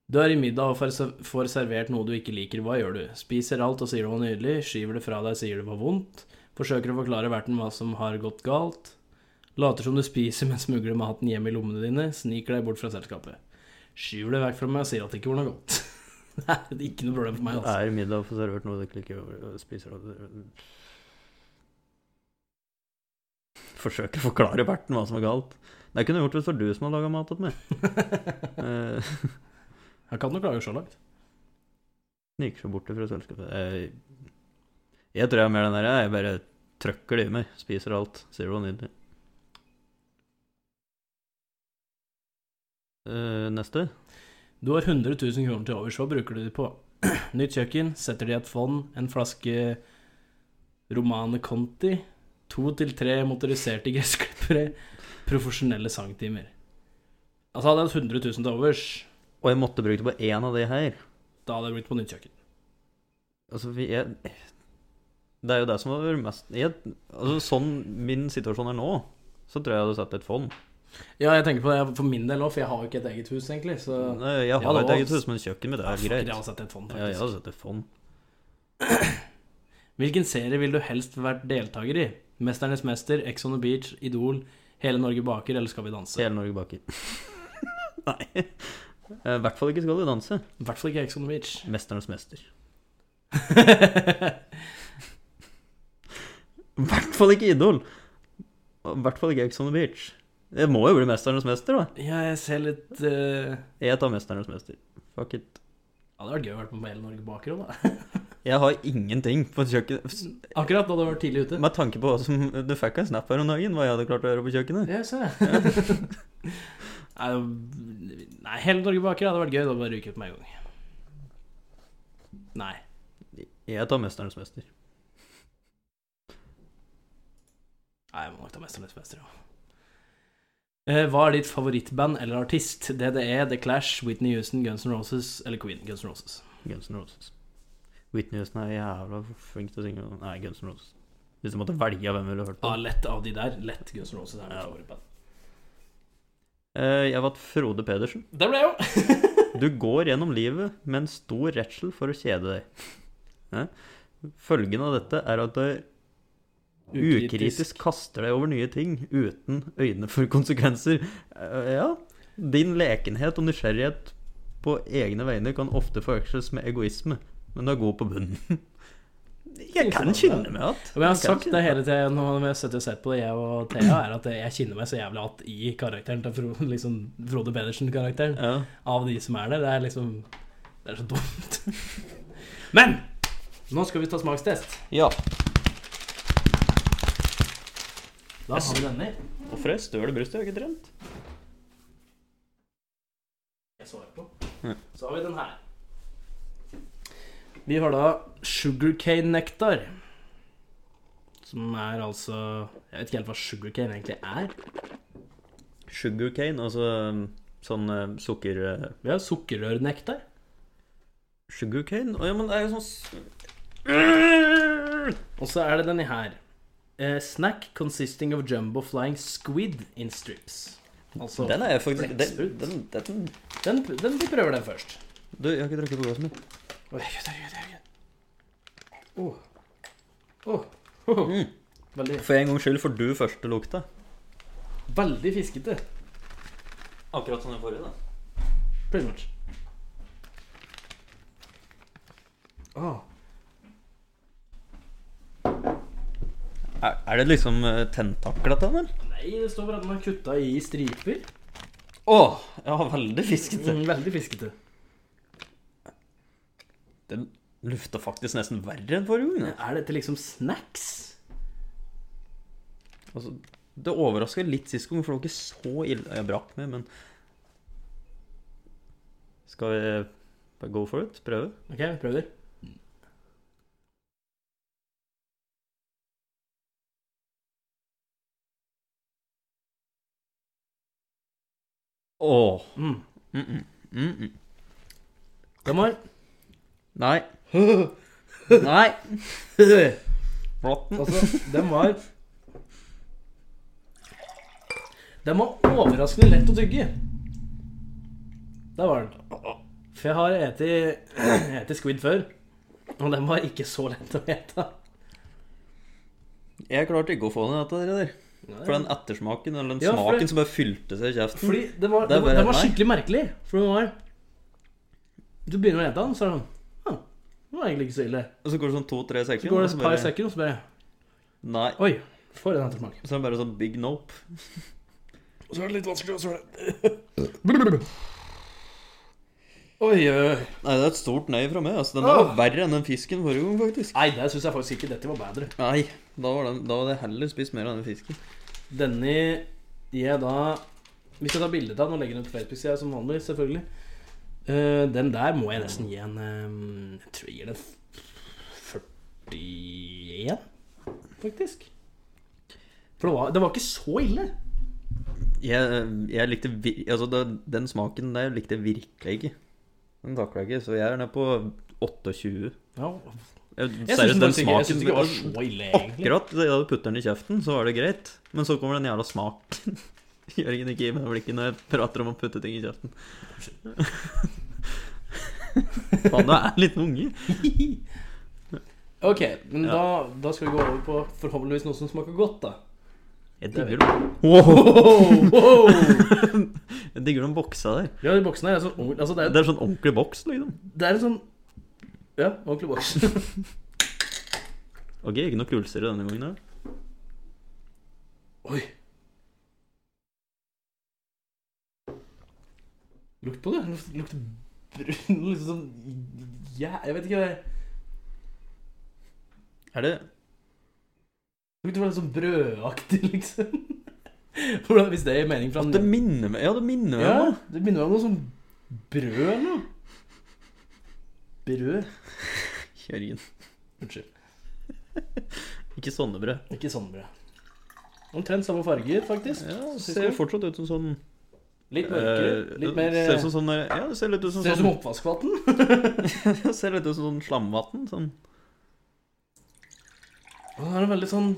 S2: Du er i middag og får ser- får servert noe du ikke liker. Hva gjør du? Spiser alt og sier det var nydelig. Skyver det fra deg, sier det var vondt. Forsøker å forklare verten hva som har gått galt. Later som du spiser, men smugler maten hjem i lommene dine. Sniker deg bort fra selskapet. Skyver det vekk fra meg og sier at det ikke var noe godt. Nei, det er ikke noe problem for meg, altså.
S1: Er middag og får servert noe du ikke liker, og spiser det Forsøker å forklare verten hva som er galt. Det kunne jeg gjort hvis det var du som hadde laga mat til meg. Eh,
S2: Jeg kan jo klage så langt.
S1: Sniker seg bort fra selskapet. Jeg, jeg tror jeg er mer den der. Jeg bare trøkker det i meg. Spiser alt. Sier det var nydelig. Eh, neste.
S2: Du har 100 000 kroner til overs, hva bruker du de på? Nytt kjøkken, setter de i et fond, en flaske Romane Conti, to til tre motoriserte gressklippere, profesjonelle sangtimer. Altså, hadde jeg hatt 100 000 til overs,
S1: Og jeg måtte bruke det på én av de her.
S2: da hadde jeg blitt på nytt kjøkken.
S1: Altså, vi er Det er jo det som har vært mest jeg, Altså, sånn min situasjon er nå, så tror jeg jeg hadde satt et fond.
S2: Ja, jeg tenker på det for min del òg, for jeg har jo ikke et eget hus, egentlig. Så
S1: Nei, Eh, Jeg
S2: Ja,
S1: har
S2: det
S1: et
S2: var-
S1: eget hus, men kjøkken mitt
S2: Ja,
S1: er
S2: fuck,
S1: Mm. greit.
S2: jeg har sett et fond,
S1: Ja, altså. jeg
S2: faktisk.
S1: hadde satt et fond.
S2: Hvilken serie vil du helst vært deltaker i? Mesternes mester, Ex on the beach, Idol, Hele Norge baker, eller Skal vi danse?
S1: Hele Norge baker. Nei. Eh, I hvert fall ikke skal du danse.
S2: I hvert fall ikke Ex on the beach.
S1: Mesternes mester.
S2: Nei,
S1: I hvert fall ikke Idol. Og I hvert fall ikke Ex on the Beach. Det må jo bli Mesternes mester, da.
S2: jeg ser litt eh,
S1: Jeg tar Mesternes mester. Fuck it.
S2: Ja, det hadde vært gøy å være med på Hele Norge baker òg, da.
S1: Jeg har ingenting på kjøkkenet.
S2: Akkurat da du var tidlig ute.
S1: Med tanke på hva som Du fikk en snap her om dagen, hva jeg hadde klart å gjøre på kjøkkenet.
S2: Ja, se. Nei, det- nei, Hele Norge baker hadde vært gøy. Da bare ryker ut med en gang. Nei.
S1: Jeg tar Mesternes mester.
S2: nei jeg må nok ta Mesternes mester, ja. Eh, Hva er ditt favorittband eller artist? DDE, The Clash, Whitney Houston, Guns N' Roses eller Queen? Guns N' Roses.
S1: Guns N' Roses. Whitney Houston er jævla flink til å synge. Nei, Guns N' Roses. Hvis du måtte velge hvem du ville hørt på.
S2: Ja, Ah, lett av de der. Lett Guns N' Roses er mitt
S1: Ja.
S2: favorittband.
S1: Eh, Jeg valgte Frode Pedersen.
S2: Der ble jeg jo!
S1: Du går gjennom livet med en stor redsel for å kjede deg. Hæ? Følgen av dette er at du Ukritisk kaster deg over nye ting uten øyne for konsekvenser. Eh, Ja, din lekenhet og nysgjerrighet på egne vegne kan ofte forveksles med egoisme, men du er god på bunnen. Jeg kan kjenne meg igjen.
S2: Men jeg har sagt det hele tiden nå når vi har sittet og sett på det, jeg og Thea, er at jeg kjenner meg så jævlig att i karakteren til Frode, liksom Frode Pedersen-karakteren.
S1: Ja.
S2: Av de som er der. Det er liksom Det er så dumt. Men nå skal vi ta smakstest.
S1: ja.
S2: Da har vi denne. i.
S1: Hvorfor er jeg støl i brystet? Jeg har ikke trent.
S2: Jeg svarer på.
S1: Ja.
S2: Så har vi den her. Vi har da sugarcane nektar. Som er altså Jeg vet ikke helt hva sugarcane egentlig er.
S1: Sugarcane, altså um, sånn eh, sukker... eh,
S2: Vi har sukkerrørnektar.
S1: Sugarcane? Å ja, men det er jo sånn s-
S2: Og så er det denne her. Eh, snack consisting of jumbo flying squid in strips. Altså
S1: Den er jeg faktisk den,
S2: Blekksprut.
S1: den, den,
S2: den, den, Vi prøver den først.
S1: Du, jeg har ikke drukket på glasset mitt.
S2: Oi, herregud, herregud, herregud. Åh. Åh.
S1: Mm.
S2: Oh. Veldig,
S1: For en gangs skyld får du første lukta.
S2: veldig fiskete.
S1: Akkurat som den forrige, da.
S2: Pretty much. Åh.
S1: Er, er det liksom eh, tentakler til den, eller?
S2: Nei, det står bare at den er kutta i striper.
S1: Å! Ja, veldig fiskete.
S2: Mm, veldig fiskete.
S1: Den lufta faktisk nesten verre enn forrige gang.
S2: Er dette liksom snacks?
S1: Altså, det overraska litt sist gang, for det var ikke så ille Jeg brakk meg, men Skal vi bare go for it? Prøve?
S2: OK, vi prøver.
S1: Åh.
S2: Mm.
S1: Mm -mm. Mm -mm.
S2: Kom her.
S1: Nei. Nei. Flåtten.
S2: Altså, den var Den var overraskende lett å tygge. Der var den. For jeg har spist squid før, og den var ikke så lett å ete.
S1: Jeg klarte ikke å få ned dette der. For den ettersmaken, eller den
S2: Ja, for
S1: smaken
S2: det-
S1: som bare fylte seg i kjeften
S2: Fordi det var,
S1: Det er
S2: det, var,
S1: bare
S2: det var
S1: meg.
S2: skikkelig merkelig. For det var Du begynner å ete den, så er det sånn ah, Det var egentlig ikke så ille.
S1: Og så går det sånn to-tre
S2: Så
S1: sekunder.
S2: går
S1: og
S2: det
S1: så
S2: et
S1: bare-
S2: par sekunder, og så bare
S1: Nei.
S2: Oi, for en ettersmak.
S1: Så er det bare sånn big nope.
S2: Og så er det litt vanskelig, og så er det Oi, oi, oi.
S1: Nei, det er et stort nei fra meg. Altså, den der var verre enn den fisken forrige gang, faktisk.
S2: Nei, der syns jeg faktisk ikke dette var bedre.
S1: Nei, da var, den, da var det heller spist mer av den fisken.
S2: Denne gir jeg da Vi skal ta bilde av den og legge den ut på Facebook-sida som vanlig, selvfølgelig. Eh, den der må jeg nesten gi en eh, Jeg tror jeg gir den f- 41, faktisk. For det var, det var ikke så ille.
S1: Jeg, jeg likte vir Altså, det, den smaken der likte jeg virkelig ikke. Den takla jeg ikke, så jeg er nede på 28.
S2: Ja,
S1: Jeg,
S2: jeg syns
S1: seriøst,
S2: den
S1: den
S2: faktisk ikke, jeg synes
S1: smaken
S2: ikke det var så ille, egentlig.
S1: Akkurat da du putter den i kjeften, så var det greit. Men så kommer den jævla smaken. Jørgen ikke gir meg det blikket når jeg prater om å putte ting i kjeften. Faen, du er en liten unge.
S2: Ok, men
S1: Ja.
S2: da, da skal vi gå over på forhåpentligvis noe som smaker godt, da.
S1: Jeg digger dem. Wow.
S2: Wow, wow.
S1: Jeg digger de boksa der.
S2: Ja, de boksene her er sånn ordentlig- altså, det, er-
S1: Det er sånn ordentlig boks, liksom.
S2: Det er en sånn Ja, ordentlig boks.
S1: Ok, ikke noe kulsere denne gangen. da.
S2: Oi. Lukt på det. Lukt- Lukter brun Liksom sånn ja, Jeg vet ikke hva det
S1: Er det
S2: Lukter bare sånn brødaktig, liksom. Hvordan, hvis det er mening fra
S1: At det minner meg Ja, det minner meg om
S2: Ja,
S1: noe.
S2: det minner meg om noe sånn brød eller noe. Brød?
S1: Jørgen.
S2: Unnskyld.
S1: Ikke sånne brød.
S2: Ikke sånn brød. Omtrent samme farger, faktisk.
S1: Ja, det
S2: Ser
S1: ser fortsatt ut som sånn
S2: Litt mørkere.
S1: eh,
S2: Litt mer eh,
S1: Ser ut som sånn der- Ja, det ser litt ut som
S2: Ser ut som
S1: sånn
S2: oppvaskvann.
S1: Det ser litt ut som sånn slamvann. Sånn.
S2: Og Den har en veldig sånn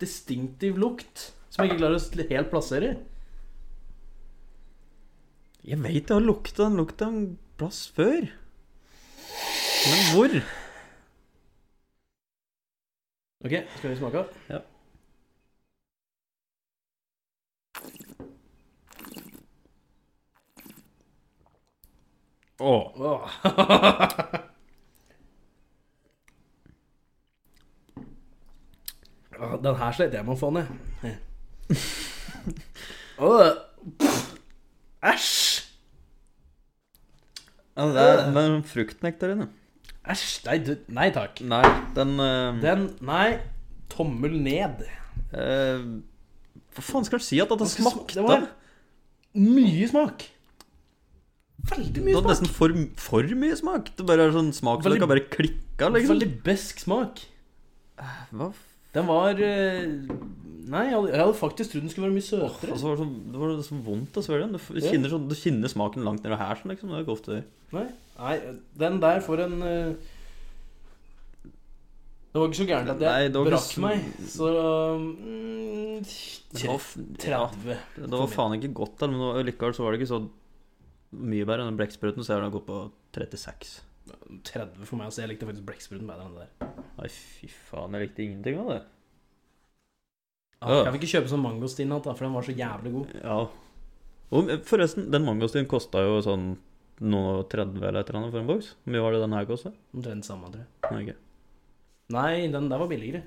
S2: distinktiv lukt som jeg ikke klarer å sl- helt plassere.
S1: Jeg veit jeg har lukta den lukta en plass før. Men hvor?
S2: Ok, skal vi smake?
S1: Ja. Åh.
S2: Åh. Åh, Den her slet jeg med å få ned. Åh. Æsj!
S1: Ja, det er, det er en fruktnektar inne.
S2: Æsj, nei, du, nei takk.
S1: Nei, den, eh,
S2: Den, nei, tommel ned.
S1: eh, Hva faen skal en si at dette
S2: Hva skal-
S1: smakte?
S2: det var- Mye smak. Veldig
S1: Det
S2: mye
S1: hadde
S2: smak.
S1: nesten for, for mye smak. Det bare er sånn smak som det
S2: Veldig-
S1: kan bare klikke av, liksom.
S2: Veldig besk smak.
S1: Hva f-
S2: Den var eh, Nei, jeg hadde, jeg hadde faktisk trodd den skulle være mye søtere.
S1: Altså, det var så, det var så vondt å svelge den. Du, f-
S2: Ja.
S1: kjenner sånn, du kjenner smaken langt nede her, sånn, liksom. Det er ikke ofte
S2: Nei, nei, den der får en eh, Det var ikke så gærent at
S1: Nei,
S2: jeg
S1: det var ikke
S2: brakk
S1: så-
S2: meg, så mm,
S1: det var, f- ja,
S2: 30.
S1: det var faen ikke godt, da, men det var- likevel så var det ikke så mye bedre enn den blekkspruten, så jeg har da gått på 36.
S2: 30 for meg, så jeg likte faktisk blekkspruten bedre enn det der.
S1: Nei, fy faen, jeg likte ingenting av det.
S2: Ah,
S1: Ja.
S2: jeg fikk ikke kjøpe sånn mangostin igjen, da, for den var så jævlig god.
S1: Ja. Og eh, forresten, den mangostien kosta jo sånn noe 30 eller et eller annet for en boks. Hvor mye var det den her kosta?
S2: Omtrent samme, tror jeg.
S1: Okay.
S2: Nei, den der var billigere.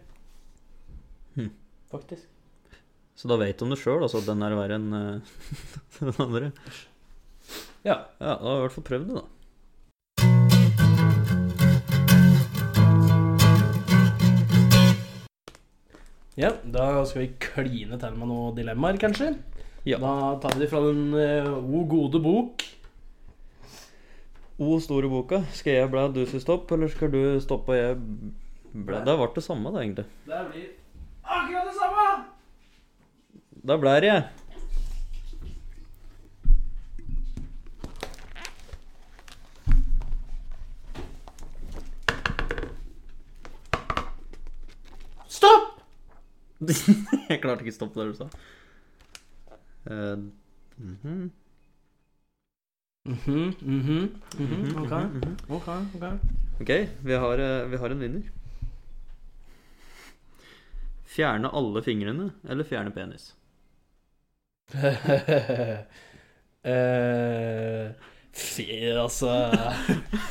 S1: Hm.
S2: Faktisk.
S1: Så da vet du om det sjøl, altså, at den er verre enn eh, den andre.
S2: Ja.
S1: Ja, da har vi i hvert fall prøvd det, da.
S2: Ja, da skal vi kline til med noen dilemmaer, kanskje.
S1: Ja.
S2: Da tar vi det fra den eh, O gode bok.
S1: O store boka. Skal jeg bla, du skal stoppe, eller skal du stoppe og jeg bla? Det ble det samme, da, egentlig.
S2: Det blir akkurat det samme!
S1: Da blær jeg.
S2: Stopp!
S1: jeg klarte ikke å stoppe det du sa. Eh, mhm,
S2: Mhm, mhm, mhm,
S1: mhm,
S2: ok,
S1: mhm.
S2: ok, ok.
S1: Ok, vi har, eh, vi har en vinner. Fjerne alle fingrene, eller fjerne penis?
S2: Eh, Fy, altså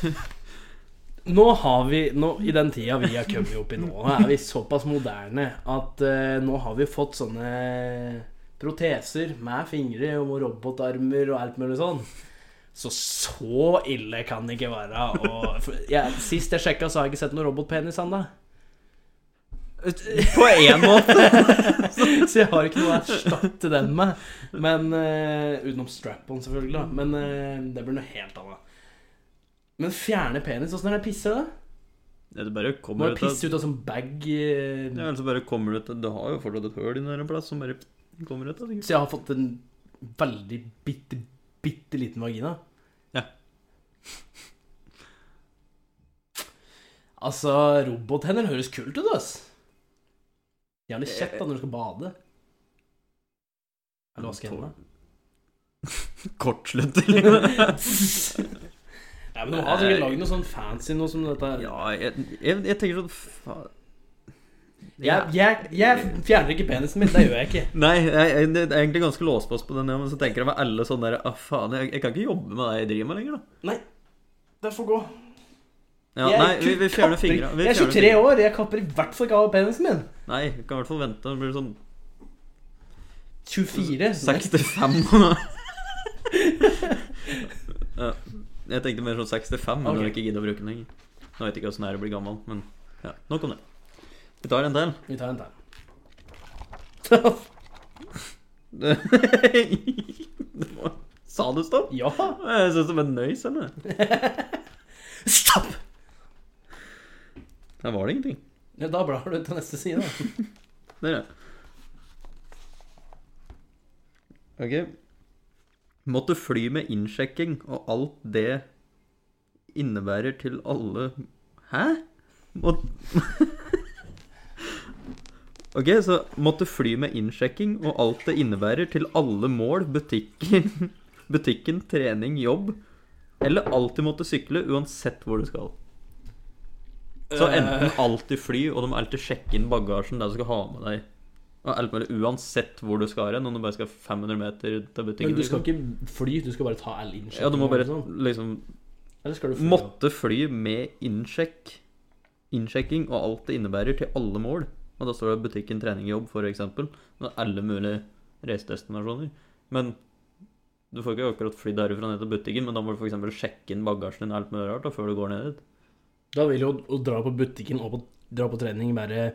S2: Nå har vi nå, I den tida vi har kommet opp i nå, nå er vi såpass moderne at eh, nå har vi fått sånne proteser med fingre og robotarmer og alt mulig sånn. Så så ille kan det ikke være. Og, for, jeg- sist jeg sjekka, så har jeg ikke sett noen robotpenis ennå.
S1: På én måte!
S2: Så jeg har ikke noe å erstatte den med. Men eh, Utenom strap-on, selvfølgelig. da Men eh, det blir noe helt annet. Men fjerne penis, åssen er det å pisse? da?
S1: Ja, det bare
S2: Må
S1: kommer
S2: jeg
S1: ut av
S2: pisse ut av sånn bag eh,
S1: ja, eller så bare kommer det ut av- Du har jo fortsatt et høl inni der en plass som bare kommer ut av sikkert.
S2: Så jeg har fått en veldig bitte, bitte liten vagina.
S1: Ja.
S2: Altså, robothender høres kult ut, ass. Jævlig kjekt da når du skal bade. Eller vaske hendene.
S1: Kortslutter.
S2: Nei, men de har sikkert lagd noe sånn fancy noe som dette her.
S1: ja, jeg, jeg, jeg tenker sånn fa-
S2: Jeg, jeg, jeg fjerner ikke penisen min, det gjør jeg ikke.
S1: Nei, jeg, jeg, jeg er egentlig ganske låsfast på den, ja, men så tenker jeg meg alle sånn der ah, faen, jeg, jeg kan ikke jobbe med det jeg driver med lenger, da.
S2: Nei, det får gå.
S1: Ja,
S2: Jeg
S1: nei, vi, vi fjerner
S2: kapper-
S1: fingra. vi
S2: Jeg er
S1: fjerner
S2: 23
S1: fingra.
S2: år, jeg kapper i hvert fall ikke av penisen min.
S1: Nei, vi kan i hvert fall vente. Det blir sånn Mm,
S2: 24.
S1: 65 ja, Jeg tenkte mer sånn 65, men
S2: Ok.
S1: når jeg ikke gidder å bruke den lenger. Nå vet jeg ikke åssen det er å bli gammel, men ja, nok om det. Vi tar en til.
S2: Vi tar en til.
S1: Det var- Sa du stopp?
S2: ja.
S1: Jeg synes det var nøys, eller?
S2: Stopp!
S1: Der var det ingenting.
S2: Ja, da blar du til neste side. da.
S1: Der, ja. Ok. Måtte fly med innsjekking og alt det innebærer til alle Hæ? Må... Ok, så måtte fly med innsjekking og alt det innebærer til alle mål, butikken, butikken trening, jobb. Eller alltid måtte sykle, uansett hvor du skal. Så enten alltid fly, og du må alltid sjekke inn bagasjen der du skal ha med deg. Og alt mulig, uansett hvor du skal hen, om du bare skal 500 meter til butikken.
S2: Men du
S1: liksom.
S2: skal ikke fly, du skal bare ta all innsjekking.
S1: Ja, du må bare
S2: eller sånn.
S1: liksom
S2: Eller skal du fly? da?
S1: Måtte fly med innsjekk Innsjekking og alt det innebærer til alle mål Og da står det butikken treningjobb for eksempel Med alle mulige reisedestinasjoner Men du får ikke akkurat fly derfra ned til butikken Men da må du for eksempel sjekke inn bagasjen din og Alt mulig rart da, før du går ned dit
S2: Da vil jo å dra på butikken og på, dra på trening bare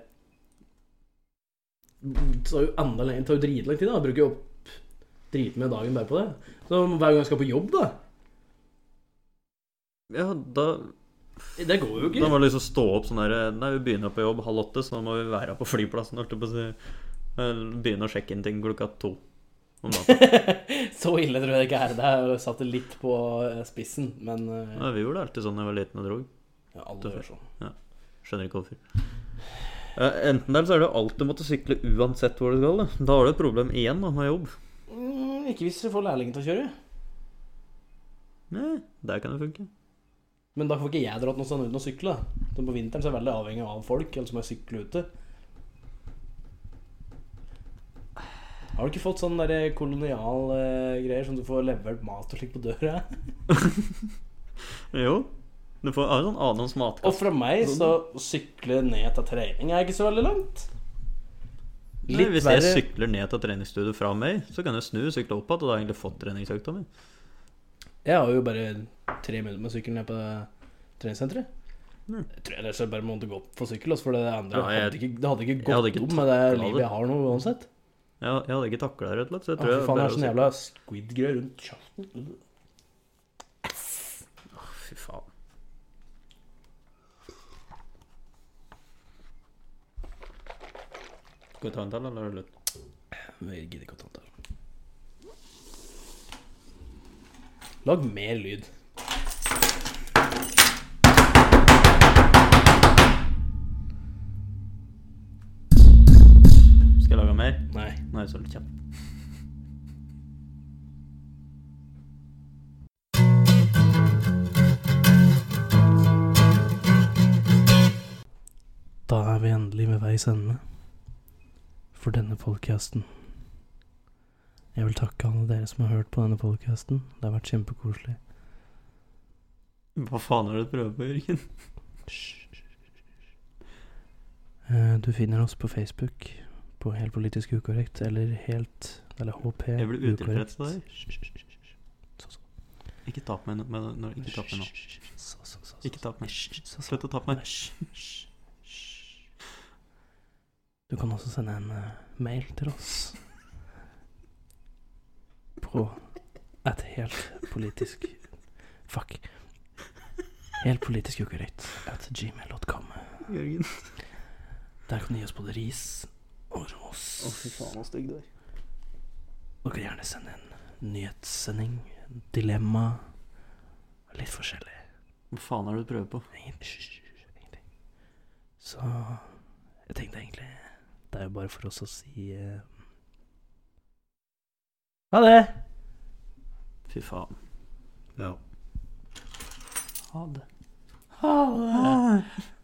S2: Det tar jo enda lenger, det tar jo dritlang tid, da. Jeg Bruker jo opp dritmye av dagen bare på det. Så hver gang jeg skal på jobb, da
S1: Ja, da,
S2: Det går jo
S1: da
S2: ikke.
S1: må du liksom stå opp sånn der Nei, vi begynner på jobb halv åtte Så da må vi være på flyplassen holdt jeg på å si. Eller Begynne å sjekke inn ting klokka to Om natta
S2: Så ille tror jeg det ikke er. Det her satte litt på eh, spissen, men eh,
S1: ja, Vi gjorde det alltid sånn da jeg var liten og drog
S2: ja, alle gjør sånn.
S1: Skjønner ikke hvorfor. Eh, Enten der så er det alltid å måtte sykle uansett hvor du skal. Da Da har du et problem igjen da, med jobb.
S2: Mm, ikke hvis du får lærlingen til å kjøre.
S1: Nei, der kan det funke.
S2: Men da får ikke jeg dratt noe sånn uten å sykle. da. Så på vinteren så er jeg veldig avhengig av folk, ellers må jeg sykle ute. Har du ikke fått sånne der kolonial eh, greier som du får levert mat og slikt på døra?
S1: Jo. Du får har en sånn annens
S2: Og
S1: matkasse.
S2: fra meg så å sykle ned til trening er ikke så veldig langt.
S1: Nei, Hvis jeg sykler ned til treningsstudioet fra meg, så kan jeg snu og sykle opp igjen. Og da har jeg egentlig fått treningsøkta mi.
S2: Jeg har jo bare tre minutter med å sykle ned på treningssenteret.
S3: Mm.
S2: Jeg tror jeg rett og slett bare måtte gå opp for sykkel, altså, for det andre
S1: Ja, jeg-
S2: hadde, ikke, det hadde ikke gått
S1: hadde ikke
S2: om med det
S1: taklet
S2: livet
S1: det.
S2: jeg har nå, uansett.
S1: Jeg, jeg hadde ikke takla det, rett og slett. Så
S2: Å,
S1: jeg
S2: Fy
S1: tror jeg
S2: faen, det
S1: bare
S2: er sånn
S1: å
S2: jævla squid-greier rundt kjeften.
S1: si- Fy faen. Skal vi ta en til, eller er det slutt?
S2: Jeg gidder ikke å ta den der. Lag mer lyd.
S1: Skal jeg lage mer?
S2: Nei.
S1: Nei, så er det kjapt.
S2: Da er vi endelig ved veis ende for denne podkasten. Jeg vil takke alle dere som har hørt på denne podkasten. Det har vært kjempekoselig.
S1: Hva faen er det du prøver på, Jørgen?
S2: Eh, Du finner oss på Facebook på Helt politisk ukorrekt eller Helt eller HP
S1: Jeg blir utilfreds av deg.
S2: ukorrekt.
S1: Ikke ta på meg nå. men- nå- Ikke ta på meg nå.
S2: Så, så, så, så.
S1: Ikke ta på meg.
S2: Så, så.
S1: Slutt å ta på meg.
S2: Du kan også sende en eh, mail til oss på et helt politisk Fuck. Helt politisk ukorrekt at gmail.com.
S1: Jørgen.
S2: Der kan du gi oss både ris og ros.
S1: så stygg du er.
S2: Du kan gjerne sende en nyhetssending, dilemma Litt forskjellig.
S1: Hva faen er det du prøver på?
S2: Ingen- hysj, hysj, Ingenting. Så jeg tenkte egentlig Det er jo bare for oss å si eh, Ha det!
S1: Fy faen.
S3: Ja.
S1: Ha det.
S2: Ha det!